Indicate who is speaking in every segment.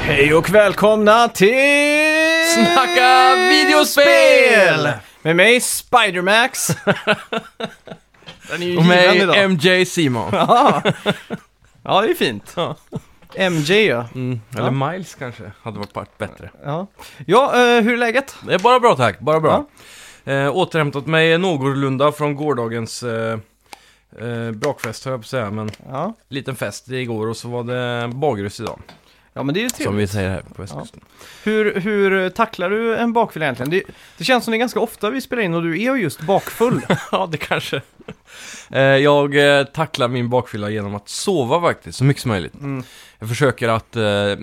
Speaker 1: Hej och välkomna till...
Speaker 2: Snacka videospel!
Speaker 1: Med mig Spidermax. Den är ju
Speaker 2: Och
Speaker 1: given idag.
Speaker 2: mig MJ Simon.
Speaker 1: ja. ja, det är fint. MJ ja.
Speaker 2: Eller Miles kanske, hade varit part- bättre.
Speaker 1: Ja, ja eh, hur är läget?
Speaker 2: Det är bara bra tack, bara bra. Eh, återhämtat mig någorlunda från gårdagens eh, eh, brakfest höll jag på att säga, men
Speaker 1: Ja,
Speaker 2: liten fest igår och så var det bagrus idag.
Speaker 1: ja men det är ju
Speaker 2: Som
Speaker 1: trevligt.
Speaker 2: vi säger här på västkusten.
Speaker 1: Hur, hur tacklar du en bakfylla egentligen? Det, det känns som det är ganska ofta vi spelar in och du är just bakfull.
Speaker 2: Ja, det kanske. Eh, jag eh, tacklar min bakfylla genom att sova faktiskt, så mycket som möjligt.
Speaker 1: Mm.
Speaker 2: Jag försöker att eh,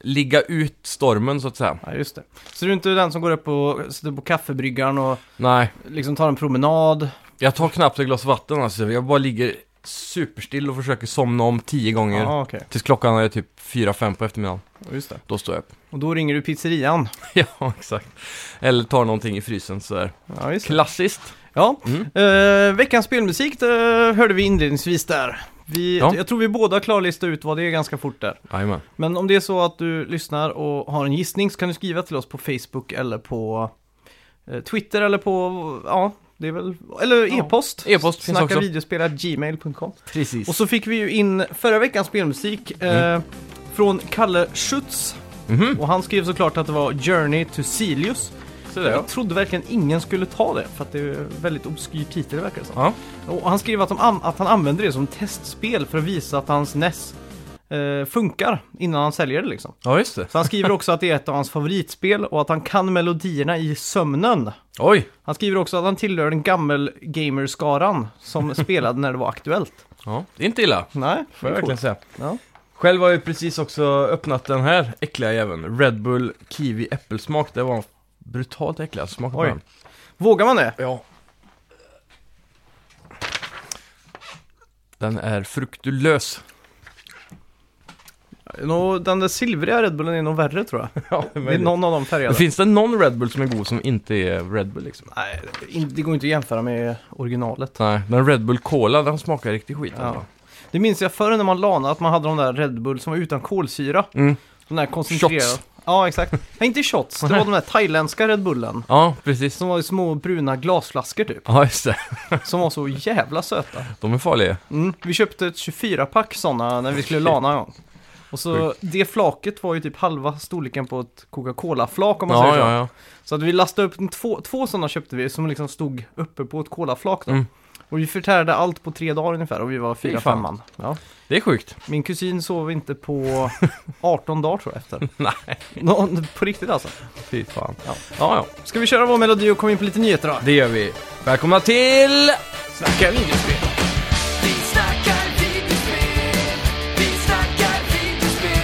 Speaker 2: ligga ut stormen så att säga.
Speaker 1: Ja, just det. Så du är inte den som går upp och sitter på kaffebryggaren och
Speaker 2: Nej,
Speaker 1: liksom tar en promenad?
Speaker 2: Jag tar knappt ett glas vatten alltså. Jag bara ligger superstill och försöker somna om tio gånger.
Speaker 1: Ja, okej.
Speaker 2: Tills klockan är typ 4-5 på eftermiddagen.
Speaker 1: Just det.
Speaker 2: Då står jag upp.
Speaker 1: Och då ringer du pizzerian.
Speaker 2: ja, exakt. Eller tar någonting i frysen sådär.
Speaker 1: Ja, just det.
Speaker 2: Klassiskt.
Speaker 1: Ja,
Speaker 2: Mm.
Speaker 1: eh, veckans spelmusik det hörde vi inledningsvis där. Vi,
Speaker 2: Ja.
Speaker 1: Jag tror vi båda klarlistar ut vad det är ganska fort där.
Speaker 2: Jajamän.
Speaker 1: Men om det är så att du lyssnar och har en gissning så kan du skriva till oss på Facebook eller på eh, Twitter eller på, ja, det är väl, eller
Speaker 2: Ja.
Speaker 1: e-post.
Speaker 2: E-post finns också.
Speaker 1: Snackavideospelar.gmail.com
Speaker 2: Precis.
Speaker 1: Och så fick vi ju in förra veckans spelmusik eh,
Speaker 2: Mm.
Speaker 1: från Kalle Schütz.
Speaker 2: Mhm.
Speaker 1: Och han skrev såklart att det var Journey to Silius.
Speaker 2: Så där, ja.
Speaker 1: Jag trodde verkligen ingen skulle ta det, för att det är en väldigt obskyr titel verkar det som.
Speaker 2: Ja.
Speaker 1: Och han skrev att, de an- att han använder det som testspel för att visa att hans NES eh, funkar innan han säljer det liksom.
Speaker 2: ja, just det.
Speaker 1: Så han skriver också att det är ett av hans favoritspel och att han kan melodierna i sömnen.
Speaker 2: Oj.
Speaker 1: Han skriver också att han tillhör den gammel gamerskaran som spelade när det var aktuellt.
Speaker 2: Ja. Det är inte illa.
Speaker 1: Nej,
Speaker 2: Får jag
Speaker 1: det är
Speaker 2: verkligen säga.
Speaker 1: coolt. Ja.
Speaker 2: Själv har jag precis också öppnat den här äckliga jäveln. Red Bull Kiwi Äppelsmak. Det var brutalt äckliga. Smaka på
Speaker 1: Oj.
Speaker 2: den.
Speaker 1: Vågar man det?
Speaker 2: Ja. Den är fruktulös.
Speaker 1: Nå, den där silvriga Red Bullen är nog värre tror jag.
Speaker 2: Ja,
Speaker 1: Det är någon av de färgade.
Speaker 2: Finns det någon Red Bull som är god som inte är Red Bull liksom?
Speaker 1: Nej, det går inte att jämföra med originalet.
Speaker 2: Nej, men Red Bull Cola den smakar riktigt skit.
Speaker 1: Ja.
Speaker 2: alltså.
Speaker 1: Det minns jag förr när man lanade att man hade de där Red Bull som var utan kolsyra.
Speaker 2: Mm.
Speaker 1: De där koncentrerade.
Speaker 2: Shots.
Speaker 1: Ja, exakt. Nej, inte shots. Det var de där thailändska Red Bullen.
Speaker 2: ja precis.
Speaker 1: Som var i små bruna glasflaskor typ.
Speaker 2: Ja, just det.
Speaker 1: Som var så jävla söta.
Speaker 2: De är farliga.
Speaker 1: Mm. Vi köpte ett 24-pack sådana när vi skulle lana en gång. Och så det flaket var ju typ halva storleken på ett Coca-Cola-flak om man
Speaker 2: Ja,
Speaker 1: säger så.
Speaker 2: ja, ja.
Speaker 1: Så att vi lastade upp en två, två sådana köpte vi som liksom stod uppe på ett colaflak då.
Speaker 2: Mm.
Speaker 1: Och vi förtärde allt på tre dagar ungefär och vi var fyra,
Speaker 2: fan.
Speaker 1: fem man. Ja.
Speaker 2: Det är sjukt.
Speaker 1: Min kusin sov inte på 18 dagar tror jag efter.
Speaker 2: Nej.
Speaker 1: Någon, på riktigt alltså.
Speaker 2: Fy fan.
Speaker 1: Ja.
Speaker 2: Ja. ja,
Speaker 1: Ska vi köra vår melodi och komma in på lite nyheter då?
Speaker 2: Det gör vi. Välkomna till...
Speaker 1: Snacka videospel.
Speaker 3: Vi snackar videospel, vi snackar videospel,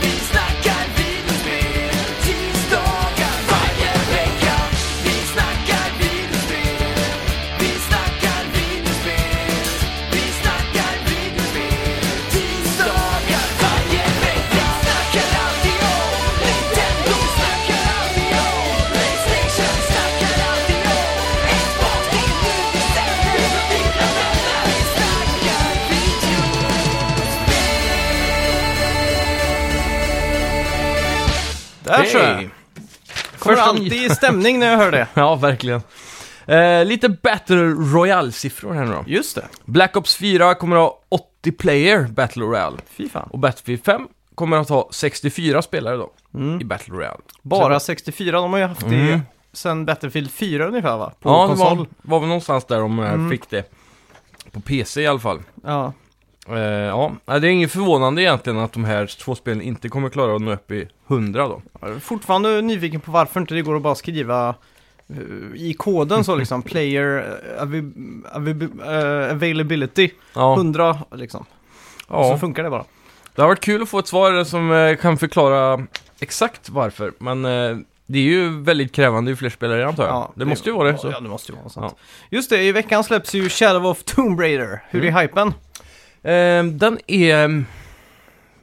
Speaker 3: vi snackar videospel, tisdagar varje vecka. Vi snackar videospel, vi snackar videospel, vi snackar videospel, tisdagar varje vecka. Snackar alltid om Nintendo, snackar alltid om Playstation, snackar alltid om Xbox, det är nu vi sänder med dina vänner. Vi snackar video.
Speaker 1: Där så!
Speaker 2: Hey.
Speaker 1: Kommer
Speaker 2: Första
Speaker 1: alltid i stämning när jag hör det.
Speaker 2: Ja, verkligen. Eh, lite Battle Royale-siffror här nu då.
Speaker 1: Just det.
Speaker 2: Black Ops 4 kommer att ha 80 player Battle Royale.
Speaker 1: Fy fan.
Speaker 2: Och Battlefield 5 kommer att ha 64 spelare då,
Speaker 1: Mm.
Speaker 2: i Battle Royale.
Speaker 1: Bara 64, de har ju haft det
Speaker 2: Mm.
Speaker 1: sen Battlefield 4 ungefär va? På
Speaker 2: ja, det
Speaker 1: konsol.
Speaker 2: var, var väl någonstans där de eh, fick det. På PC i alla fall.
Speaker 1: Ja.
Speaker 2: Eh, ja, Nej, det är inget förvånande egentligen att de här två spelen inte kommer klara att nå upp i 100 då.
Speaker 1: Jag är Fortfarande nyfiken på varför inte det går att bara skriva eh, i koden så liksom, player eh, avi- avi- eh, availability,
Speaker 2: Ja,
Speaker 1: 100 liksom. Så
Speaker 2: ja.
Speaker 1: funkar det bara.
Speaker 2: det har varit kul att få ett svar som eh, kan förklara exakt varför. Men eh, det är ju väldigt krävande ju fler spelare antar jag. det, måste ju vara det. Så.
Speaker 1: Ja, det måste ju vara sånt. Just det, i veckan släpps ju Shadow of Tomb Raider. Hur
Speaker 2: Mm.
Speaker 1: är hypen?
Speaker 2: Eh, den är eh,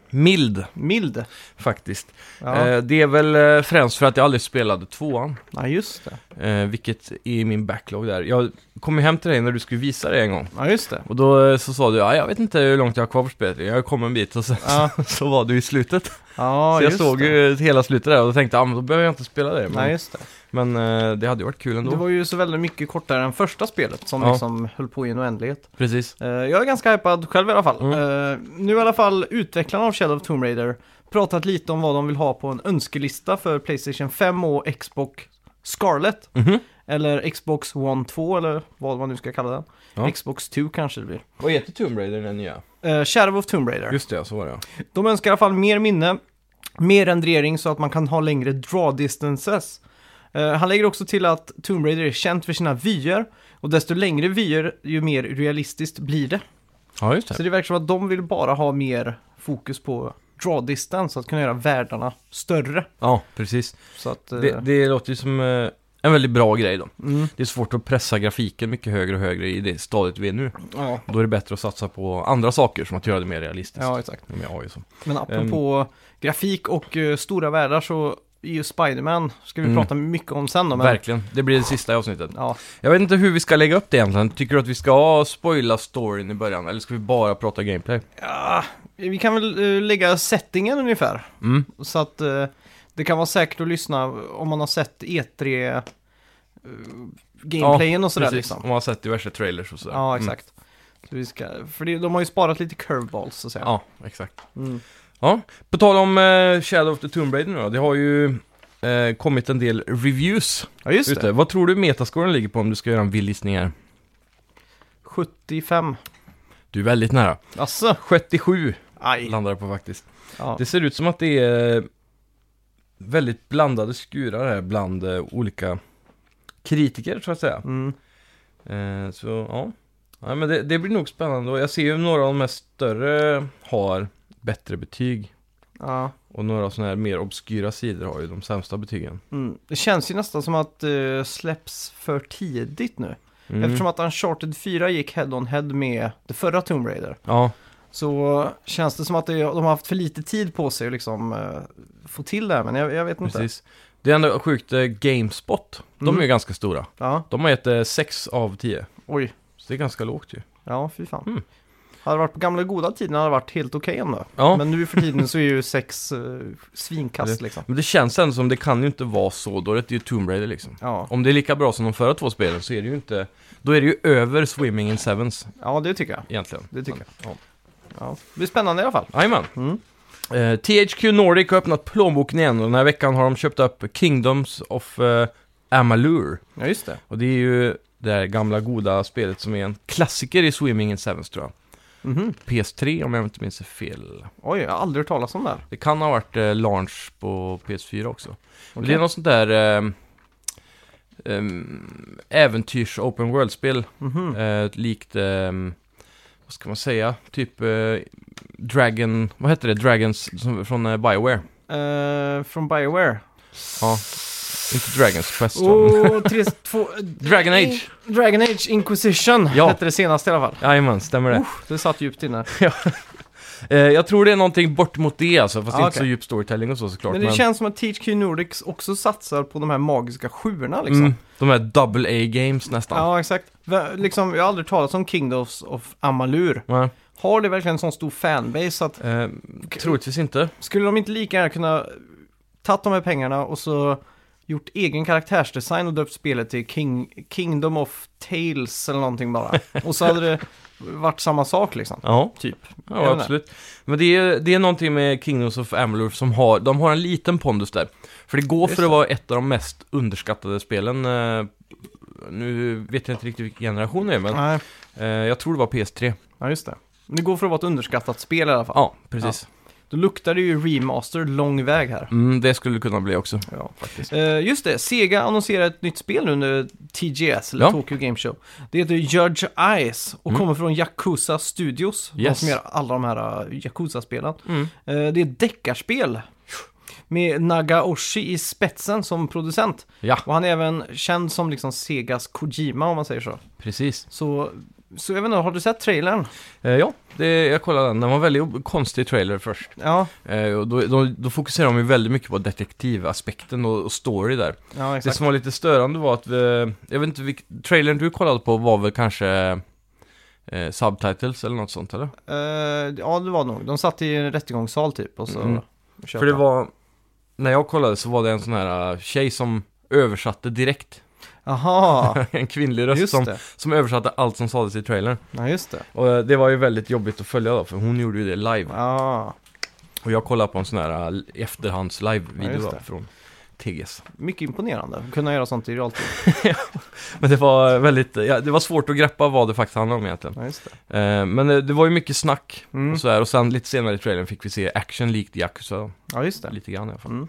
Speaker 2: mild
Speaker 1: Mild.
Speaker 2: faktiskt.
Speaker 1: Ja,
Speaker 2: Eh, det är väl eh, främst för att jag aldrig spelade tvåan.
Speaker 1: Nej, just det.
Speaker 2: Eh, vilket är min backlog där. Jag kom ju hem till dig när du skulle visa det en gång.
Speaker 1: Ja, just det.
Speaker 2: Och då eh, så sa du, ja, jag vet inte hur långt jag har kvar på spelet. Jag kom en bit och sen
Speaker 1: Ja.
Speaker 2: så var du i slutet.
Speaker 1: Ja,
Speaker 2: så jag
Speaker 1: just
Speaker 2: såg
Speaker 1: det.
Speaker 2: ju hela slutet där och då tänkte jag, ah, men då behöver jag inte spela det. Men,
Speaker 1: Nej, just det.
Speaker 2: men eh, det hade ju varit kul ändå.
Speaker 1: Det var ju så väldigt mycket kortare än första spelet som
Speaker 2: Ja.
Speaker 1: liksom höll på i en oändlighet.
Speaker 2: Precis.
Speaker 1: Eh, jag är ganska hypad själv i alla fall.
Speaker 2: Mm.
Speaker 1: Eh, nu i alla fall utvecklarna av Shadow of Tomb Raider pratat lite om vad de vill ha på en önskelista för Playstation 5 och Xbox Scarlett.
Speaker 2: Mhm.
Speaker 1: Eller Xbox One 2 eller vad man nu ska kalla den.
Speaker 2: Ja.
Speaker 1: Xbox 2 kanske det blir.
Speaker 2: Vad heter Tomb Raider den nya?
Speaker 1: Eh, Shadow of Tomb Raider.
Speaker 2: Just det, ja, så var det ja.
Speaker 1: De önskar i alla fall mer minne, mer rendering så att man kan ha längre draw distances. Eh, han lägger också till att Tomb Raider är känt för sina vyer och desto längre vyer ju mer realistiskt blir det.
Speaker 2: Ja, just
Speaker 1: Så
Speaker 2: det.
Speaker 1: det verkar som att de vill bara ha mer fokus på draw distance, att kunna göra världarna större.
Speaker 2: Ja, precis.
Speaker 1: Så att, eh,
Speaker 2: Det, det låter ju som eh, en väldigt bra grej då.
Speaker 1: Mm,
Speaker 2: Det är svårt att pressa grafiken mycket högre och högre i det stadiet vi är nu.
Speaker 1: ja,
Speaker 2: Då är det bättre att satsa på andra saker som att göra det mer realistiskt.
Speaker 1: ja, exakt.
Speaker 2: Med AI och så.
Speaker 1: Men apropå
Speaker 2: Ehm.
Speaker 1: grafik och eh, stora världar så är ju Spiderman, ska vi
Speaker 2: Mm.
Speaker 1: prata mycket om sen då, men,
Speaker 2: Verkligen, det blir det sista i avsnittet.
Speaker 1: ja,
Speaker 2: Jag vet inte hur vi ska lägga upp det egentligen. Tycker du att vi ska spoila storyn i början eller ska vi bara prata gameplay?
Speaker 1: ja, vi kan väl eh, lägga settingen ungefär.
Speaker 2: Mm.
Speaker 1: Så att eh, det kan vara säkert att lyssna om man har sett E3 eh, gameplayen och sådär
Speaker 2: Precis,
Speaker 1: liksom.
Speaker 2: Mm. om man har sett diverse trailers och sådär.
Speaker 1: Ja, exakt. Så vi ska, för det, de har ju sparat lite curveballs så att säga.
Speaker 2: Mm. Ja, exakt.
Speaker 1: Mm.
Speaker 2: Ja, på tal om eh, Shadow of the Tomb Raider nu då. Det har ju eh, kommit en del reviews
Speaker 1: ja just
Speaker 2: ute.
Speaker 1: det.
Speaker 2: Vad tror du metascoren ligger på om du ska göra en vild gissning här?
Speaker 1: 75.
Speaker 2: Du är väldigt nära.
Speaker 1: Asså?
Speaker 2: 77
Speaker 1: Aj.
Speaker 2: landar det på faktiskt.
Speaker 1: Ja.
Speaker 2: Det ser ut som att det är väldigt blandade skurar här bland eh, olika kritiker, så att säga.
Speaker 1: Mm.
Speaker 2: Eh, så, ja. Nej, men det, det blir nog spännande och jag ser ju några av de här större har bättre betyg.
Speaker 1: Ja.
Speaker 2: Och några sådana här mer obskyra sidor har ju de sämsta betygen.
Speaker 1: Mm. Det känns ju nästan som att det släpps för tidigt nu.
Speaker 2: Mm.
Speaker 1: Eftersom att Uncharted 4 gick head on head med det förra Tomb Raider.
Speaker 2: Ja,
Speaker 1: Så känns det som att det, de har haft för lite tid på sig att liksom eh, få till det här. Men jag, jag vet inte.
Speaker 2: precis. Det är ändå sjukt, eh, GameSpot, de är
Speaker 1: Mm.
Speaker 2: ju ganska stora.
Speaker 1: Ja,
Speaker 2: De har gett eh, 6 av 10.
Speaker 1: oj.
Speaker 2: Så det är ganska lågt ju.
Speaker 1: Ja, fy fan.
Speaker 2: Mm.
Speaker 1: Hade det varit på gamla goda tiden hade det varit helt okej ändå.
Speaker 2: Ja.
Speaker 1: Men nu för tiden så är ju sex eh, svinkast liksom.
Speaker 2: Men det känns ändå som det kan ju inte vara så dåligt, det är ju Tomb Raider liksom.
Speaker 1: Ja.
Speaker 2: Om det är lika bra som de förra två spelen så är det ju inte, då är det ju över Swimming in Sevens
Speaker 1: ja, det tycker jag.
Speaker 2: egentligen.
Speaker 1: Det tycker
Speaker 2: jag.
Speaker 1: jag. Ja. Det blir spännande i alla fall.
Speaker 2: Jajamän.
Speaker 1: Mm.
Speaker 2: Eh, THQ Nordic har öppnat plånboken igen och den här veckan har de köpt upp Kingdoms of eh, Amalur.
Speaker 1: Ja, just det.
Speaker 2: Och det är ju det här gamla goda spelet som är en klassiker i Swimming in Sevens tror jag.
Speaker 1: Mhm.
Speaker 2: PS3 om jag inte minns fel.
Speaker 1: Oj, jag har aldrig hört talas om det här.
Speaker 2: Det kan ha varit eh, launch på PS4 också. Men Det
Speaker 1: Okej.
Speaker 2: är något sånt där eh, ehm, äventyrs open world-spel.
Speaker 1: Mhm.
Speaker 2: Eh, likt, eh, vad ska man säga, typ eh, Dragon, vad heter det, Dragons som, från eh, Bioware.
Speaker 1: Eh, från Bioware.
Speaker 2: Ja, inte Dragons Quest. Oh.
Speaker 1: Oh, tre, två,
Speaker 2: Dragon Age!
Speaker 1: Dragon Age Inquisition
Speaker 2: Ja.
Speaker 1: hette det senaste i alla fall.
Speaker 2: Jajamän, stämmer det.
Speaker 1: Det satt djupt inne.
Speaker 2: Eh, jag tror det är någonting bort mot det alltså, fast
Speaker 1: Ah,
Speaker 2: inte så
Speaker 1: okej.
Speaker 2: djup storytelling och så såklart.
Speaker 1: Men det känns som att THQ Nordics också satsar på de här magiska sjuorna liksom.
Speaker 2: mm, de här double A-games nästan.
Speaker 1: Ja, exakt. Vä- Liksom, jag har aldrig talat om Kingdoms of Amalur.
Speaker 2: Ja.
Speaker 1: Har det verkligen en sån stor fanbase så att
Speaker 2: Eh, troligtvis inte.
Speaker 1: skulle de inte lika gärna kunna tagit de här pengarna och så gjort egen karaktärsdesign och döpt spelet till King, Kingdom of Tales eller någonting bara. Och så hade det varit samma sak liksom.
Speaker 2: Ja,
Speaker 1: Typ. Jag
Speaker 2: ja
Speaker 1: vet
Speaker 2: absolut. Men det är, det är någonting med Kingdoms of Amalur som har, de har en liten pondus där. För det går
Speaker 1: Just
Speaker 2: för att
Speaker 1: det.
Speaker 2: vara ett av de mest underskattade spelen. eh, Nu vet jag inte riktigt vilken generation det är, men
Speaker 1: Nej,
Speaker 2: eh, jag tror det var PS3.
Speaker 1: ja just det. Men Det går för att vara ett underskattat spel i alla fall.
Speaker 2: Ja, precis.
Speaker 1: Då luktar det ju remaster lång väg här.
Speaker 2: Mm, det skulle det kunna bli också.
Speaker 1: Ja.
Speaker 2: Faktiskt.
Speaker 1: Eh, just det, Sega annonserar ett nytt spel nu under TGS, eller
Speaker 2: Ja.
Speaker 1: Tokyo Game Show. Det heter Judge Eyes och
Speaker 2: Mm.
Speaker 1: kommer från Yakuza Studios, de
Speaker 2: Yes.
Speaker 1: som gör alla de här eh, Yakuza-spelen.
Speaker 2: Mm.
Speaker 1: Eh, det är ett deckarspel med Nagaoshi i spetsen som producent.
Speaker 2: Ja,
Speaker 1: Och han är även känd som liksom Segas Kojima om man säger så.
Speaker 2: precis.
Speaker 1: Så Så jag vet inte, har du sett trailern?
Speaker 2: Eh, ja, det, jag kollade den. Den var en väldigt ob- konstig trailer först.
Speaker 1: Ja,
Speaker 2: Eh, och då, då, då fokuserar de ju väldigt mycket på detektivaspekten och, och story där.
Speaker 1: ja
Speaker 2: Det
Speaker 1: exakt.
Speaker 2: som var lite störande var att, vi, jag vet inte, vilk, trailern du kollade på var väl kanske eh, subtitles eller något sånt eller?
Speaker 1: Eh, ja, det var nog. De satt i en rättegångssal typ och så...
Speaker 2: Mm.
Speaker 1: köpte
Speaker 2: För det
Speaker 1: de.
Speaker 2: var, när jag kollade så var det en sån här eh, tjej som översatte direkt.
Speaker 1: Aha,
Speaker 2: en kvinnlig röst
Speaker 1: just
Speaker 2: som,
Speaker 1: det.
Speaker 2: som översatte allt som sades i trailern.
Speaker 1: Ja, just det.
Speaker 2: Och eh, det var ju väldigt jobbigt att följa då, för hon gjorde ju det live.
Speaker 1: Ja,
Speaker 2: Och jag kollade på en sån här eh, efterhands
Speaker 1: Ja,
Speaker 2: live-video
Speaker 1: just
Speaker 2: då,
Speaker 1: det.
Speaker 2: från TGS.
Speaker 1: mycket imponerande. Kunna göra sånt i realtid.
Speaker 2: Men det var eh, väldigt, eh, ja, det var svårt att greppa vad det faktiskt handlade om egentligen.
Speaker 1: Ja, just det.
Speaker 2: Eh, Men eh, det var ju mycket snack
Speaker 1: Mm.
Speaker 2: och sådär. Och sen lite senare i trailern fick vi se action likt Yakuza. då.
Speaker 1: Ja, just det.
Speaker 2: Lite grann i alla fall.
Speaker 1: Mm.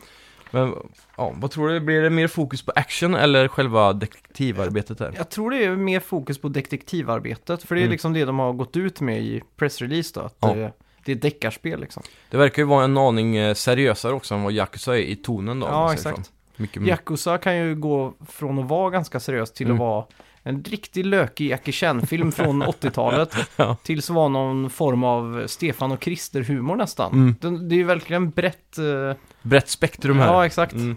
Speaker 2: Men ja, vad tror du? Blir det mer fokus på action eller själva detektivarbetet där?
Speaker 1: Jag tror det är mer fokus på detektivarbetet, för det är
Speaker 2: Mm.
Speaker 1: liksom det de har gått ut med i pressrelease då. Att
Speaker 2: Ja.
Speaker 1: det, det är ett deckarspel liksom.
Speaker 2: Det verkar ju vara en aning eh, seriösare också än vad Yakuza är i tonen då. om man
Speaker 1: ja,
Speaker 2: säger
Speaker 1: exakt.
Speaker 2: så. Mycket mer.
Speaker 1: Yakuza kan ju gå från att vara ganska seriös till
Speaker 2: Mm.
Speaker 1: att vara en riktig lökig Jackie Chan-film från 80-talet.
Speaker 2: Ja.
Speaker 1: Tills att vara någon form av Stefan och Krister-humor nästan.
Speaker 2: Mm.
Speaker 1: Den, det är ju verkligen brett. eh,
Speaker 2: Brett spektrum här.
Speaker 1: ja, exakt.
Speaker 2: Mm.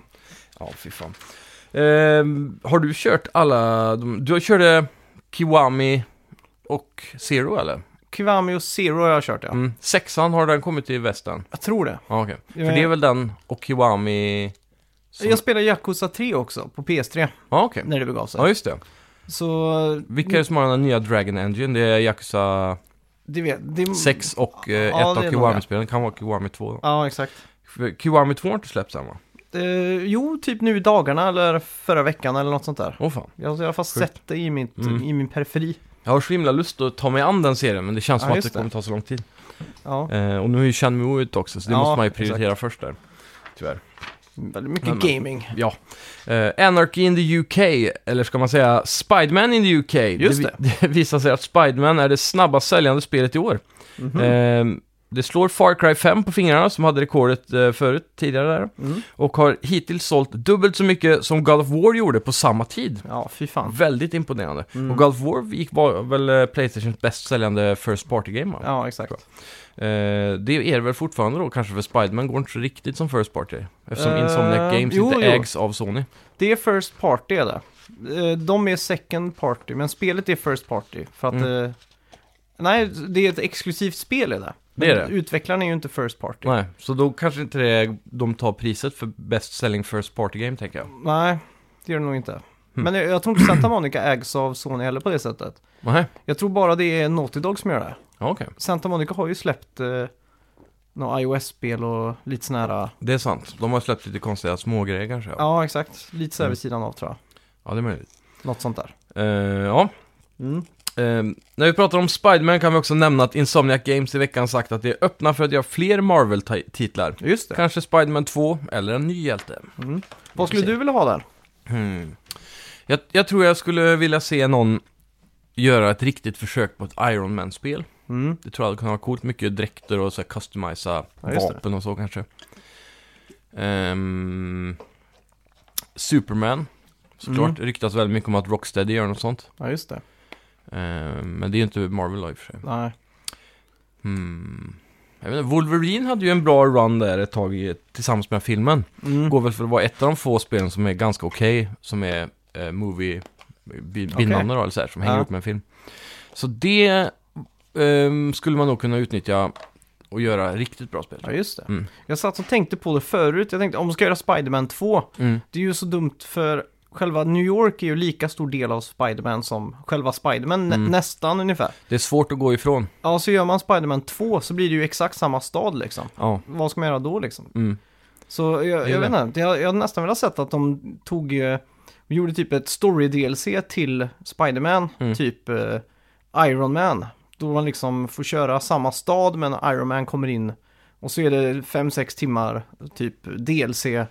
Speaker 2: Ja, fy fan. Ehm, har du kört alla de... Du körde Kiwami och Zero eller?
Speaker 1: Kiwami och Zero har jag kört ja.
Speaker 2: Mm. Sexan, har den kommit i västen?
Speaker 1: Jag tror det.
Speaker 2: Ja, okej.
Speaker 1: Jag
Speaker 2: För
Speaker 1: är-
Speaker 2: det är väl den och Kiwami... som-
Speaker 1: Jag spelade Yakuza 3 också på PS3
Speaker 2: Ja, okej.
Speaker 1: när det begav sig.
Speaker 2: Ja, just det.
Speaker 1: Så
Speaker 2: Vilka är det som har den nya Dragon Engine? Det är Yakuza
Speaker 1: det vet... Det...
Speaker 2: 6 och eh,
Speaker 1: Mm. Ja,
Speaker 2: ett
Speaker 1: det
Speaker 2: av
Speaker 1: är
Speaker 2: Kiwami-spelen. Kan vara Kiwami 2 då.
Speaker 1: Ja, exakt.
Speaker 2: För Kiwami 2 har inte släppts än va?
Speaker 1: Eh, jo, typ nu i dagarna eller förra veckan eller något sånt där.
Speaker 2: Åh fan.
Speaker 1: Jag har i alla fall
Speaker 2: Sjukt.
Speaker 1: sett det i, mitt,
Speaker 2: Mm.
Speaker 1: i min periferi.
Speaker 2: Jag har så himla lust att ta mig an den serien, men det känns
Speaker 1: Ja,
Speaker 2: som att
Speaker 1: just
Speaker 2: det
Speaker 1: det.
Speaker 2: kommer ta så lång tid.
Speaker 1: Ja,
Speaker 2: Eh, och nu är ju Chanmo ute också, så det
Speaker 1: Ja,
Speaker 2: måste man ju prioritera först där. Tyvärr.
Speaker 1: väldigt mycket
Speaker 2: Men, men.
Speaker 1: gaming.
Speaker 2: Ja. Eh, Anarchy in the UK, eller ska man säga Spiderman in the UK.
Speaker 1: Just
Speaker 2: det. vi- det visar sig att Spiderman är det snabbast säljande spelet i år.
Speaker 1: Mhm.
Speaker 2: Eh, det slår Far Cry 5 på fingrarna, som hade rekordet eh, förut, tidigare där.
Speaker 1: Mm.
Speaker 2: Och har hittills sålt dubbelt så mycket som God of War gjorde på samma tid.
Speaker 1: Ja, fy fan.
Speaker 2: Väldigt imponerande.
Speaker 1: Mm.
Speaker 2: Och God of War gick, var väl eh, Playstations bäst säljande First Party-game va?
Speaker 1: Ja, exakt.
Speaker 2: Eh, det är det väl fortfarande då kanske för Spiderman går inte så riktigt som First Party. Eftersom
Speaker 1: Eh,
Speaker 2: Insomniac Games
Speaker 1: jo,
Speaker 2: inte
Speaker 1: jo.
Speaker 2: ägs av Sony.
Speaker 1: Det är First Party är det. Eh, De är Second Party, men spelet är First Party. För att...
Speaker 2: Mm.
Speaker 1: eh, Nej, det är ett exklusivt spel är det.
Speaker 2: Det är
Speaker 1: Men
Speaker 2: det.
Speaker 1: Utvecklaren är ju inte First Party.
Speaker 2: Nej, så då kanske inte det, de tar priset för Best Selling First Party Game tänker jag.
Speaker 1: Nej, det gör det nog inte. Men jag, jag tror inte Santa Monica ägs av Sony heller på det sättet.
Speaker 2: Nej,
Speaker 1: Jag tror bara det är Naughty Dog som gör det.
Speaker 2: ja, okej.
Speaker 1: Santa Monica har ju släppt eh, några iOS-spel och lite sån här...
Speaker 2: Det är sant. De har släppt lite konstiga smågrejer kanske. Ja,
Speaker 1: Ja, exakt. Lite så här
Speaker 2: Mm.
Speaker 1: vid sidan av tror jag.
Speaker 2: ja det är möjligt.
Speaker 1: Något sånt där.
Speaker 2: Eh, ja. Eh, när vi pratar om Spiderman kan vi också nämna att Insomniac Games i veckan sagt att de är öppna för att göra fler Marvel-titlar.
Speaker 1: Just det.
Speaker 2: Kanske Spiderman 2 eller en ny hjälte.
Speaker 1: Mm. Vad skulle du vilja ha där?
Speaker 2: Hmm. Jag, jag tror jag skulle vilja se någon göra ett riktigt försök på ett Iron Man-spel.
Speaker 1: Mm.
Speaker 2: Det tror jag hade kunnat vara coolt. Mycket dräkter och så här customisa
Speaker 1: Ja, just det.
Speaker 2: vapen och så kanske. Ehm, Superman, såklart.
Speaker 1: Mm.
Speaker 2: Det ryktas väldigt mycket om att Rocksteady gör något sånt.
Speaker 1: Ja, just det.
Speaker 2: Ehm, men det är ju inte Marvel då i och för sig.
Speaker 1: Nej.
Speaker 2: Hmm. Jag vet inte, Wolverine hade ju en bra run där ett tag i, tillsammans med filmen.
Speaker 1: Mm.
Speaker 2: Går väl för att vara ett av de få spelen som är ganska okej, som är eh, movie bi- bindande då, eller så här, som hänger
Speaker 1: Ja.
Speaker 2: ihop med en film. Så det ehm, skulle man nog kunna utnyttja och göra riktigt bra spel.
Speaker 1: Ja, just det.
Speaker 2: Mm.
Speaker 1: Jag satt och tänkte på det förut. Jag tänkte, om de ska göra Spider-Man 2,
Speaker 2: Mm.
Speaker 1: det är ju så dumt för själva New York är ju lika stor del av Spider-Man som själva Spider-Man, nä-
Speaker 2: Mm.
Speaker 1: nästan ungefär.
Speaker 2: Det är svårt att gå ifrån.
Speaker 1: Ja, så gör man Spider-Man 2 så blir det ju exakt samma stad liksom.
Speaker 2: Ja.
Speaker 1: Vad ska man göra då liksom?
Speaker 2: Mm.
Speaker 1: Så jag,
Speaker 2: är
Speaker 1: jag vet
Speaker 2: det.
Speaker 1: inte, jag, jag hade nästan velat sett att de tog, eh, gjorde typ ett story-DLC till Spider-Man,
Speaker 2: Mm.
Speaker 1: typ eh, Iron Man. Då man liksom får köra samma stad men Iron Man kommer in och så är det 5-6 timmar typ DLC, eh,